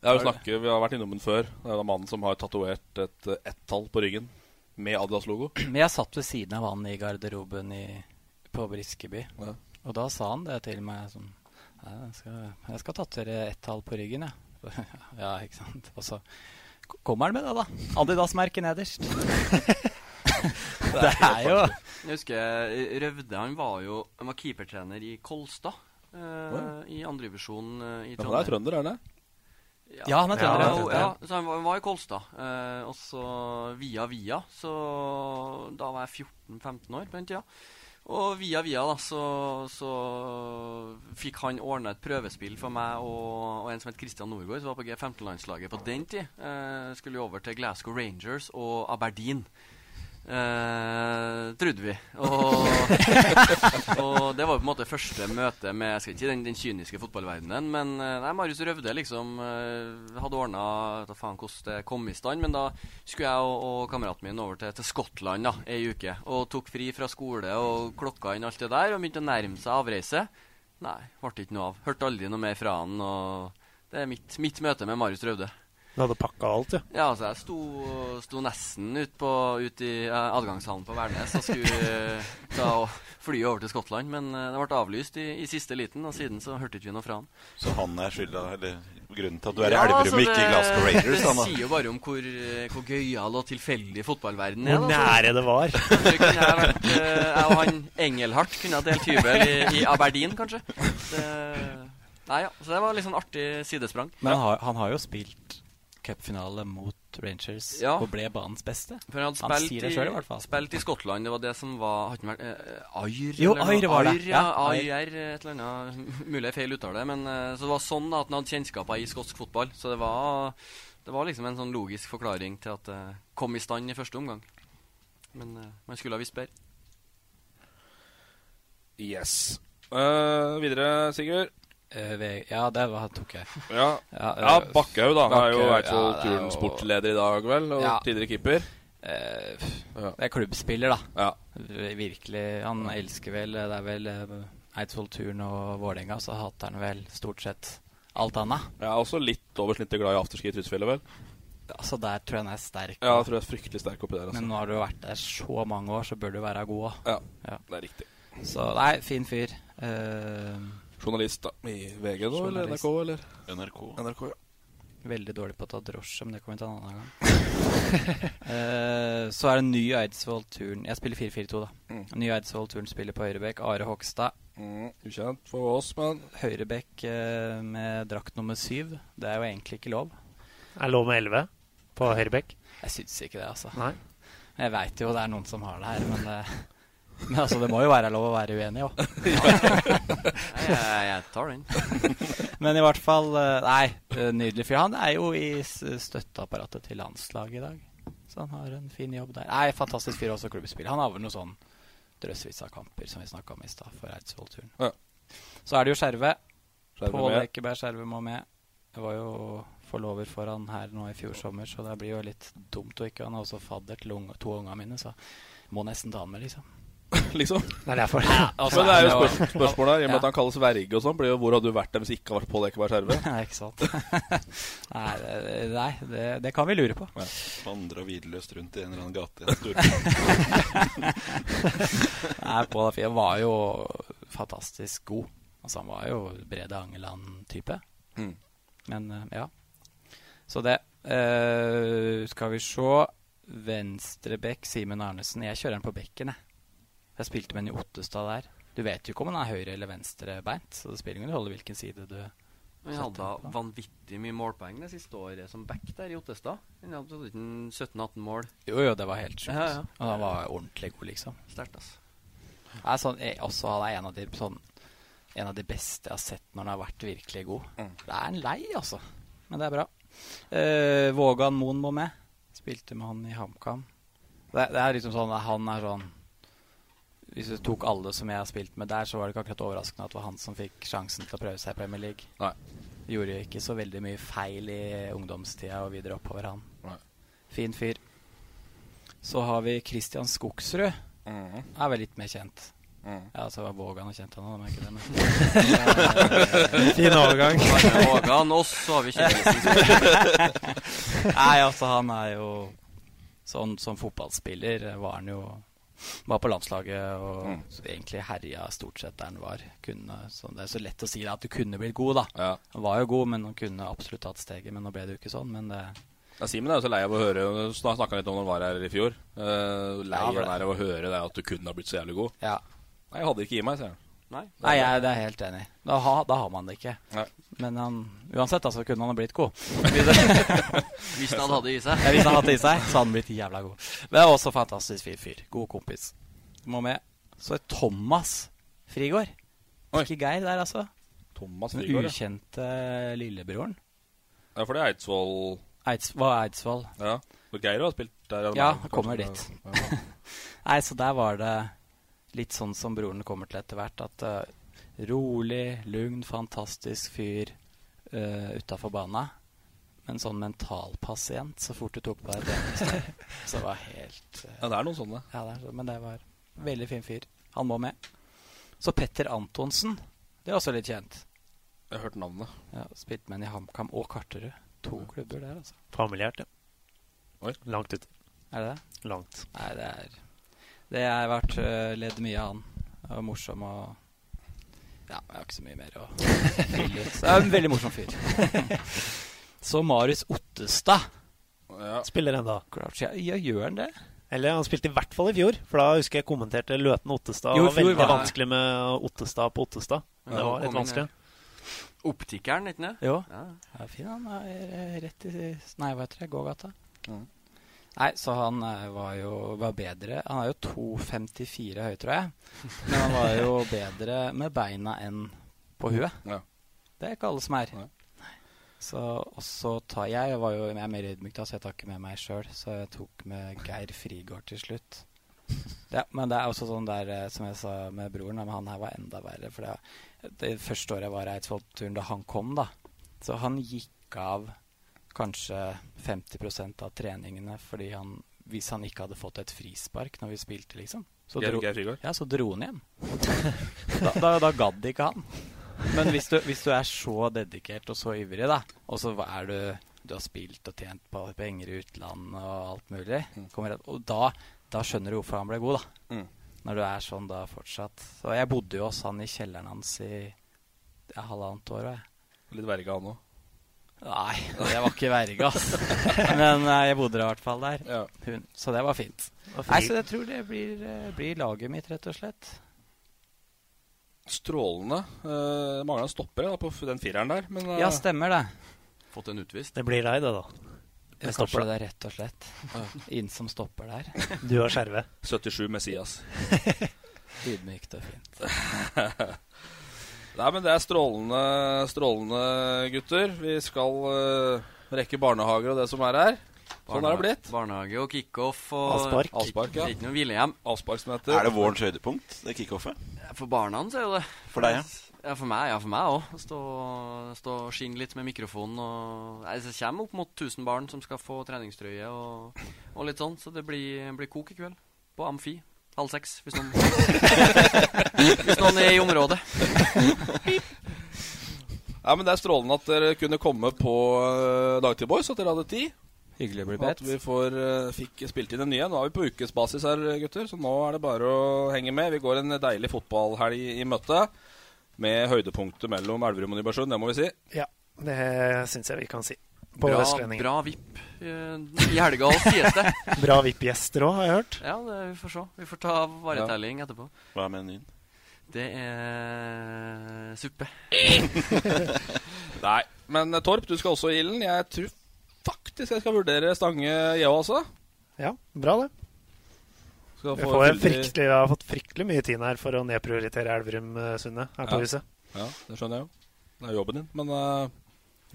B: Det er jo snakke, Vi har vært innom den før. Det er jo da mannen som har tatovert et eh, ett-tall på ryggen med Adidas-logo.
D: Men jeg satt ved siden av han i garderoben i, på Briskeby. Og da sa han det til meg sånn «Ja, Jeg skal, jeg skal tatovere ett tall på ryggen, jeg. (laughs) ja, ikke sant. Og så k- kommer han med det, da. Adidas-merket (laughs) nederst. det er jo
E: Jeg husker Røvde han var jo Han var keepertrener i Kolstad. eh, I andrevisjon uh, i
B: Ja, men det er
E: Trondheim.
B: trønder, er han det?
D: Ja, han er trønder,
E: Ja,
D: ja.
E: og- ja, så han var, var i Kolstad. eh, og så via via. Så da var jeg 14-15 år på den tida. Og via via da, så, så fikk han ordna et prøvespill for meg og, og en som het Christian Norgård, som var på G15-landslaget på den tid. Eh, skulle jo over til Glasgow Rangers og Aberdeen. Eh, trodde vi. Og, og det var jo på en måte første møte med jeg skal ikke si den, den kyniske fotballverdenen. Men eh, nei, Marius Røvde liksom eh, hadde ordna faen hvordan det kom i stand. Men da skulle jeg og, og kameraten min over til, til Skottland da, ei uke. Og tok fri fra skole og klokka inn alt det der. Og begynte å nærme seg avreise. Nei, ble det ikke noe av. Hørte aldri noe mer fra han. Og det er mitt, mitt møte med Marius Røvde.
A: Du hadde pakka alt, ja.
E: Ja, altså, jeg sto, sto nesten ut, på, ut i eh, adgangshallen på Værnes og skulle eh, ta og fly over til Skottland, men eh, det ble avlyst i, i siste liten, og siden så hørte ikke vi noe fra han.
C: Så han er skylda, eller grunnen til at du er i
B: altså,
C: Elverum, ikke i Glasgow Raiders?
E: altså, Det
C: Han, da.
E: sier jo bare om hvor, eh, hvor gøyal og tilfeldig fotballverden
A: Hvor nære det var.
E: Kanskje kunne jeg vært eh, Jeg og han Engelhardt kunne ha delt hybel i, i Aberdeen, kanskje. Det, nei ja, så det var litt sånn artig sidesprang.
D: Men han har, han har jo spilt cupfinale mot Rangers
E: Ja.
D: og ble banens beste.
E: For han hadde
D: han
E: spilt,
D: sier det sjøl, i hvert
E: i,
D: fall.
E: spilt i Skottland, det var det som var Hadde han vært eh, Ayr?
D: Jo,
E: eller noe?
D: Ayr var det.
E: Ayr, ja,
D: Ja, Ayr.
E: Ayr, et eller annet. (laughs) Mulig jeg feil uttaler det, men eh, så det var sånn da, at han hadde kjennskaper i skotsk fotball. Så det var, det var liksom en sånn logisk forklaring til at det kom i stand i første omgang. Men eh, man skulle ha visst
D: (laughs)
E: bedre.
B: Yes. Eh, videre, Sigurd.
D: Eh, ja, det var, tok jeg.
B: Ja, ja,
D: Ja, eh,
B: Bakkhaug, da. er jo
D: Bakkhaug,
B: i hvert fall
D: ja, det er
B: turens
D: jo-
B: sportsleder i dag, vel? Og
D: Ja.
B: tidligere keeper.
D: eh, Det er klubbspiller, da. Virkelig. Han elsker vel Det er vel eh, Eidsvoll Turn og Vålerenga, så hater han vel stort sett alt annet.
B: Jeg er også litt over snittet glad i afterski i Trydsfjellet, vel?
D: Altså, der tror jeg han er sterk.
B: Ja, jeg tror jeg er fryktelig sterk oppi der. Altså.
D: Men nå har du vært der så mange år, så bør du være god òg.
B: Ja, det er riktig.
D: Så nei, fin fyr. Eh,
B: Journalist da, i VG nå, eller
D: Journalist.
B: NRK, eller?
C: NRK.
D: Veldig dårlig på å ta drosje, men det kommer vi til en annen (laughs) gang. Eh, så er det ny Eidsvoll Turn Jeg spiller 4-4-2, da.
B: Mm.
D: Ny Eidsvoll Turn spiller på høyrebekk. Are Hogstad.
B: ukjent for oss, men
D: Høyrebekk eh, med drakt nummer syv. Det er jo egentlig ikke lov.
A: Jeg lå med 11 på høyrebekk.
D: Jeg syns ikke det, altså.
A: Nei.
D: Jeg veit jo det er noen som har det her, men, det, (laughs) men altså, det må jo være lov å være uenig òg.
E: jeg- jeg tar den.
D: Men i hvert fall eh, Nei, eh, nydelig fyr. Han er jo i s- støtteapparatet til landslaget i dag. Så han har en fin jobb der. Nei, fantastisk fyr også klubbspiller. Han har vel noe sånn drøssevis av kamper som vi snakka om i stad, for Eidsvoll-turen.
B: Ja.
D: Så er det jo Skjerve.
B: Skjerve
D: Pål
B: med.
D: Ekeberg Skjerve må med. Jeg var jo forlover for han her nå i fjor sommer, så det blir jo litt dumt å ikke Han er også fadder til unge, to av ungene mine, så må nesten ta han med, liksom.
B: (laughs) liksom.
D: Det er derfor.
B: men Altså, det er jo spørs spørsmål der, i og med at han kalles verge og sånn. blir jo Hvor hadde du vært der hvis det ikke hadde vært Pål Ekeberg Skjerve?
D: Nei, (laughs) ikke sant. nei, det- nei det, det kan vi lure på.
C: Vandra hvileløst rundt i en eller annen gate i en storby.
D: Nei, Pål Afia var jo fantastisk god. Altså, han var jo Brede Angeland-type.
B: Mm.
D: Men eh, ja. Så det. Eh, skal vi se. Venstrebekk Simen Arnesen. Jeg kjører han på bekken, jeg. Jeg spilte med han i Ottestad der. Du vet jo ikke om han er høyre- eller venstrebeint, så det spiller ingen rolle hvilken side du
E: Han
D: setter
E: hadde
D: han på.
E: vanvittig mye målpoeng det siste året som back der i Ottestad. Han hadde sånn 17-18 mål.
D: Jo, jo, det var helt sjukt.
E: Ja, ja.
D: Og han var ordentlig god, liksom.
E: Sterkt, altså.
D: Jeg er sånn, jeg, også han er en av, de, sånn, en av de beste jeg har sett når han har vært virkelig god.
B: Mm.
D: Det er en lei, altså. Men det er bra. Eh, Vågan Moen må med. Spilte med han i HamKam. Det, det er liksom sånn Han er sånn Hvis du tok alle som jeg har spilt med der, så var det ikke akkurat overraskende at det var han som fikk sjansen til å prøve seg i Premier League.
B: Nei.
D: Gjorde ikke så veldig mye feil i ungdomstida og videre oppover, han.
B: Nei.
D: Fin fyr. Så har vi Christian Skogsrud.
B: Mhm.
D: Er vel litt mer kjent. Ja, altså var Vågan og kjent han, da, men ikke det. Men.
A: (laughs) Fin overgang.
D: Bare
E: Vågan, og så har vi Kinesen.
D: (laughs) Nei, altså han er jo sånn som fotballspiller eh, var han jo var på landslaget og
B: Mm.
D: så egentlig herja stort sett der han var. Kunne, så det er så lett å si da, at du kunne blitt god, da. Han var jo god, men han kunne absolutt tatt steget. Men nå ble det jo ikke sånn. Men det,
B: Ja, Simen er jo så lei av å høre og snak- Snakka litt om når han var her i fjor. Eh, lei
D: Ja, for
B: han er av å høre det at du kunne ha blitt så jævlig god.
D: Ja.
B: Nei, jeg hadde ikke i meg, sier han.
E: Nei.
D: Nei, jeg det er jeg helt enig i. Da, ha, da har man det ikke.
B: Nei.
D: Men han, uansett, altså, kunne han ha blitt god.
E: Hvis han hadde i seg.
D: Ja, hvis han hadde i seg, så hadde han blitt jævla god. Men det er også fantastisk fin fyr. God kompis. Må med. Så er Thomas Frigård. Ikke Geir der, altså.
B: Thomas
D: Den
B: Nygaard, ja.
D: ukjente eh, lillebroren.
B: Ja, for det er Eidsvoll
D: Eids, var Eidsvoll.
B: Ja. Og Geir har spilt der. eller
D: Ja,
B: nei,
D: kommer
B: kanskje.
D: dit.
B: Ja.
D: Nei, så der var det litt sånn som broren kommer til etter hvert, at eh, rolig, lugn, fantastisk fyr uh, utafor bana. Men sånn mentalpasient, så fort du tok på deg treningstøy, så var helt eh,
B: Ja, det er noen sånne.
D: Ja, det er, så- men det var veldig fin fyr. Han må med. Så Petter Antonsen, det er også litt kjent.
B: Jeg har hørt navnet.
D: Ja, Spilt med han i HamKam og Karterud. To klubber der, altså.
A: Familiært, ja.
D: Langt ute. Er det det? Langt. Nei, det er Det har vært øh, ledd mye av han. Og morsom og Ja, jeg har ikke så mye mer å fylle ut. Det er en veldig morsom fyr. så Marius Ottestad.
A: Spiller ennå.
D: Ja, gjør han det?
A: Eller han spilte i hvert fall i fjor, for da husker jeg kommenterte Løten Ottestad. Det
D: Jo, i
A: var
D: fjor
A: veldig
D: var det.
A: vanskelig med Ottestad på Ottestad. Det var litt vanskelig.
E: Optikeren, ikke sant?
D: Jo. Ja, fin han er eh, rett i Nei, hva heter det? Gågata. Nei, så han eh, var jo var bedre. Han er jo 2,54 høy, tror jeg. Men han var jo bedre med beina enn på huet.
B: Ja.
D: Det er ikke alle som er. Så også tar jeg Jeg var jo jeg er mer ydmyk, da, så jeg tar ikke med meg sjøl. Så jeg tok med Geir Frigård til slutt. Ja, men det er også sånn der eh, som jeg sa med broren, men han her var enda verre. For det, det første året jeg var i Eidsvollturen, da han kom, da Så han gikk av kanskje 50 av treningene fordi han hvis han ikke hadde fått et frispark når vi spilte, liksom. Så
B: Geir-
D: dro,
B: Geir Frigård?
D: ja, så dro han hjem. (laughs) da, da, da gadd ikke han. Men hvis du, hvis du er så dedikert og så ivrig, da, og så er du Du har spilt og tjent på penger i utlandet og alt mulig, kommer, et- og da, da skjønner du hvorfor han ble god, da.
B: Mm.
D: Når du er sånn da fortsatt. Så jeg bodde jo hos han i kjelleren hans i ja, halvannet år. og Jeg.
B: Litt verga, han òg.
D: Nei, (laughs) jeg var ikke verge, ass. Men eh, jeg bodde i hvert fall der. Hun, så det var fint.
B: var fint.
D: Nei, så jeg tror det blir, eh, blir laget mitt, rett og slett.
B: Strålende. Uh, mangler en stopper da, på f- den fireren der, men eh,
D: Ja, stemmer det.
E: Fått en utvist.
A: Det blir deg, det, da.
D: Jeg
A: stopper
D: kanskje det er rett og slett (laughs) inn som stopper der.
A: Du og Skjerve.
B: 77 Messias.
D: Ydmykt og fint.
B: Nei, men det er strålende, strålende gutter. Vi skal eh, rekke barnehager og det som er her. Sånn er det blitt.
E: Barnehage og kickoff og
B: Avspark. Avspark,
E: Det
B: ja.
E: er Ikke noe hvilehjem.
B: Avsparksmøte.
C: Er det vårens høydepunkt, det kickoffet?
E: For barna så er jo det.
C: For deg, ja.
E: Ja, for meg ja, for meg òg. Stå, stå og skinne litt med mikrofonen. Og, nei, det kommer opp mot 1000 barn som skal få treningstrøye og, og litt sånn. Så det blir, blir kok i kveld. På Amfi. Halv seks, hvis
B: (laughs)
E: noen Hvis noen er i området.
B: Ja, men Det er strålende at dere kunne komme på uh, Dagtid Boys, at dere hadde tid.
D: Hyggelig å bli
B: At vi får, eh, fikk spilt inn en ny en. Nå er vi på ukesbasis her, gutter, så nå er det bare å henge med. Vi går en deilig fotballhelg i møte, med høydepunktet mellom Elverum og Nybergsund, det må vi si.
A: (laughs) Ja, det syns jeg vi kan si. På
E: Bra,
A: Vestlendingen.
E: bra vipp eh, i helga, sies det.
A: Bra VIP-gjester òg, har jeg hørt.
E: Ja, det, vi får se. Vi får ta varetelling etterpå.
C: Hva er menyen?
E: Det er suppe.
B: Nei, men eh, Torp, du skal også i ilden. Jeg tror faktisk jeg skal vurdere Stange, jeg også.
A: Ja, bra det.
B: Skal
A: Jeg,
B: få
A: får
B: veldig-
A: fryktelig, jeg har fått fryktelig mye tid her for å nedprioritere Elverum-Sundet her på
B: Ja.
A: huset.
B: Ja, det skjønner jeg jo. Det er jobben din, men eh,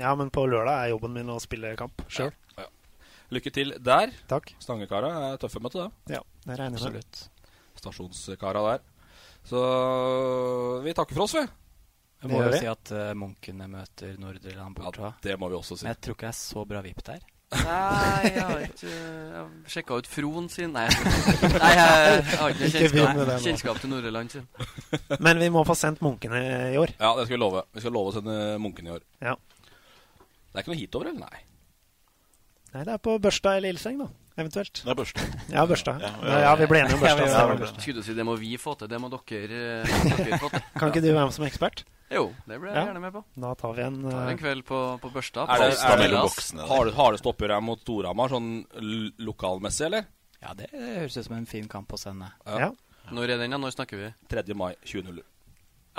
A: Ja, men på lørdag er jobben min å spille kamp sjøl.
B: lykke til der.
A: Takk.
B: Stangekara er tøffe, vet du det.
A: Ja, det regner jeg med.
D: Absolutt.
B: Stasjonskara der. Så vi takker for oss, vi.
D: Jeg må jo si at eh, munkene møter Nordre Land borte. Ja,
B: det må vi også si.
D: Men jeg tror ikke det er så bra vipp der.
E: Nei, jeg har ikke Jeg sjekka ut Fron sin Nei, Nei jeg har ikke
A: Ikke begynn med det nå.
E: kjennskap, kjennskap til Nordland sin.
A: Men vi må få sendt munkene i år.
B: Ja, det skal vi love. Vi skal love å sende munken i år.
A: Ja.
B: Det er ikke noe hit over, eller? Nei.
A: Nei, det er på Børstad eller Ilseng, da. Eventuelt.
C: Det er børsta.
A: Ja, Børstad. Ja, ja, vi ble enige om Børstad. så det var Børstad.
E: Skulle du si det må vi få til, det må dere, eh, (laughs) dere få til.
A: Kan ikke du være med som ekspert?
E: Jo, det blir jeg
A: Ja.
E: gjerne med på.
A: Da tar vi en
E: Ta
A: eh,
E: en kveld på, på Børsta.
B: Er det,
E: Børsta
B: er det,
E: Villas.
B: har det hardeste oppgjøret her mot Storhamar, sånn l- lokalmessig, eller?
D: Ja, det høres ut som en fin kamp å sende.
E: Når er den, da? Når snakker vi?
B: 3. mai 20.00.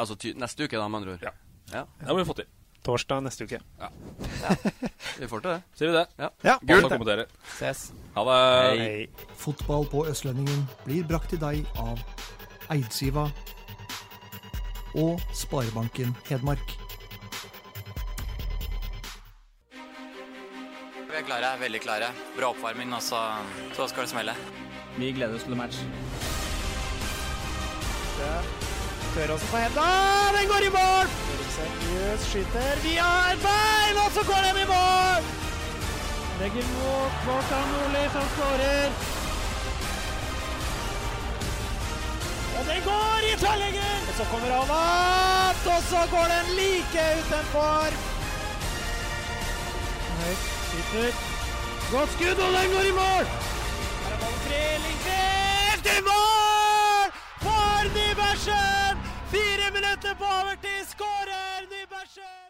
E: Altså ty neste uke, da, med andre ord? Ja.
B: Det må vi få til.
A: torsdag neste uke.
E: Vi får til det.
B: Sier vi det?
E: Ja.
A: Ja.
B: Gult. kommentere.
D: Ses.
B: Ha det.
G: Fotball på Østlendingen blir brakt til deg av Eidsiva og Sparebanken Hedmark.
F: Vi er klare.
D: klare, veldig klare. Bra oppvarming, og så, så skal det smelle.
H: Vi gleder oss til match.
A: Tør også på henda. Den går i mål! Seriøs skyter via et bein, og så går den i mål! Legger mot Kvartan Nordli, som skårer. Og den går i tverrlegger! Og så kommer han opp, og så går den like utenfor. Høyt skyter. Godt skudd, og den går i mål! Her er ballen fri, Lindqvist i mål! For Nybergsen! Fire minutter på overtid, skårer Nybergsen!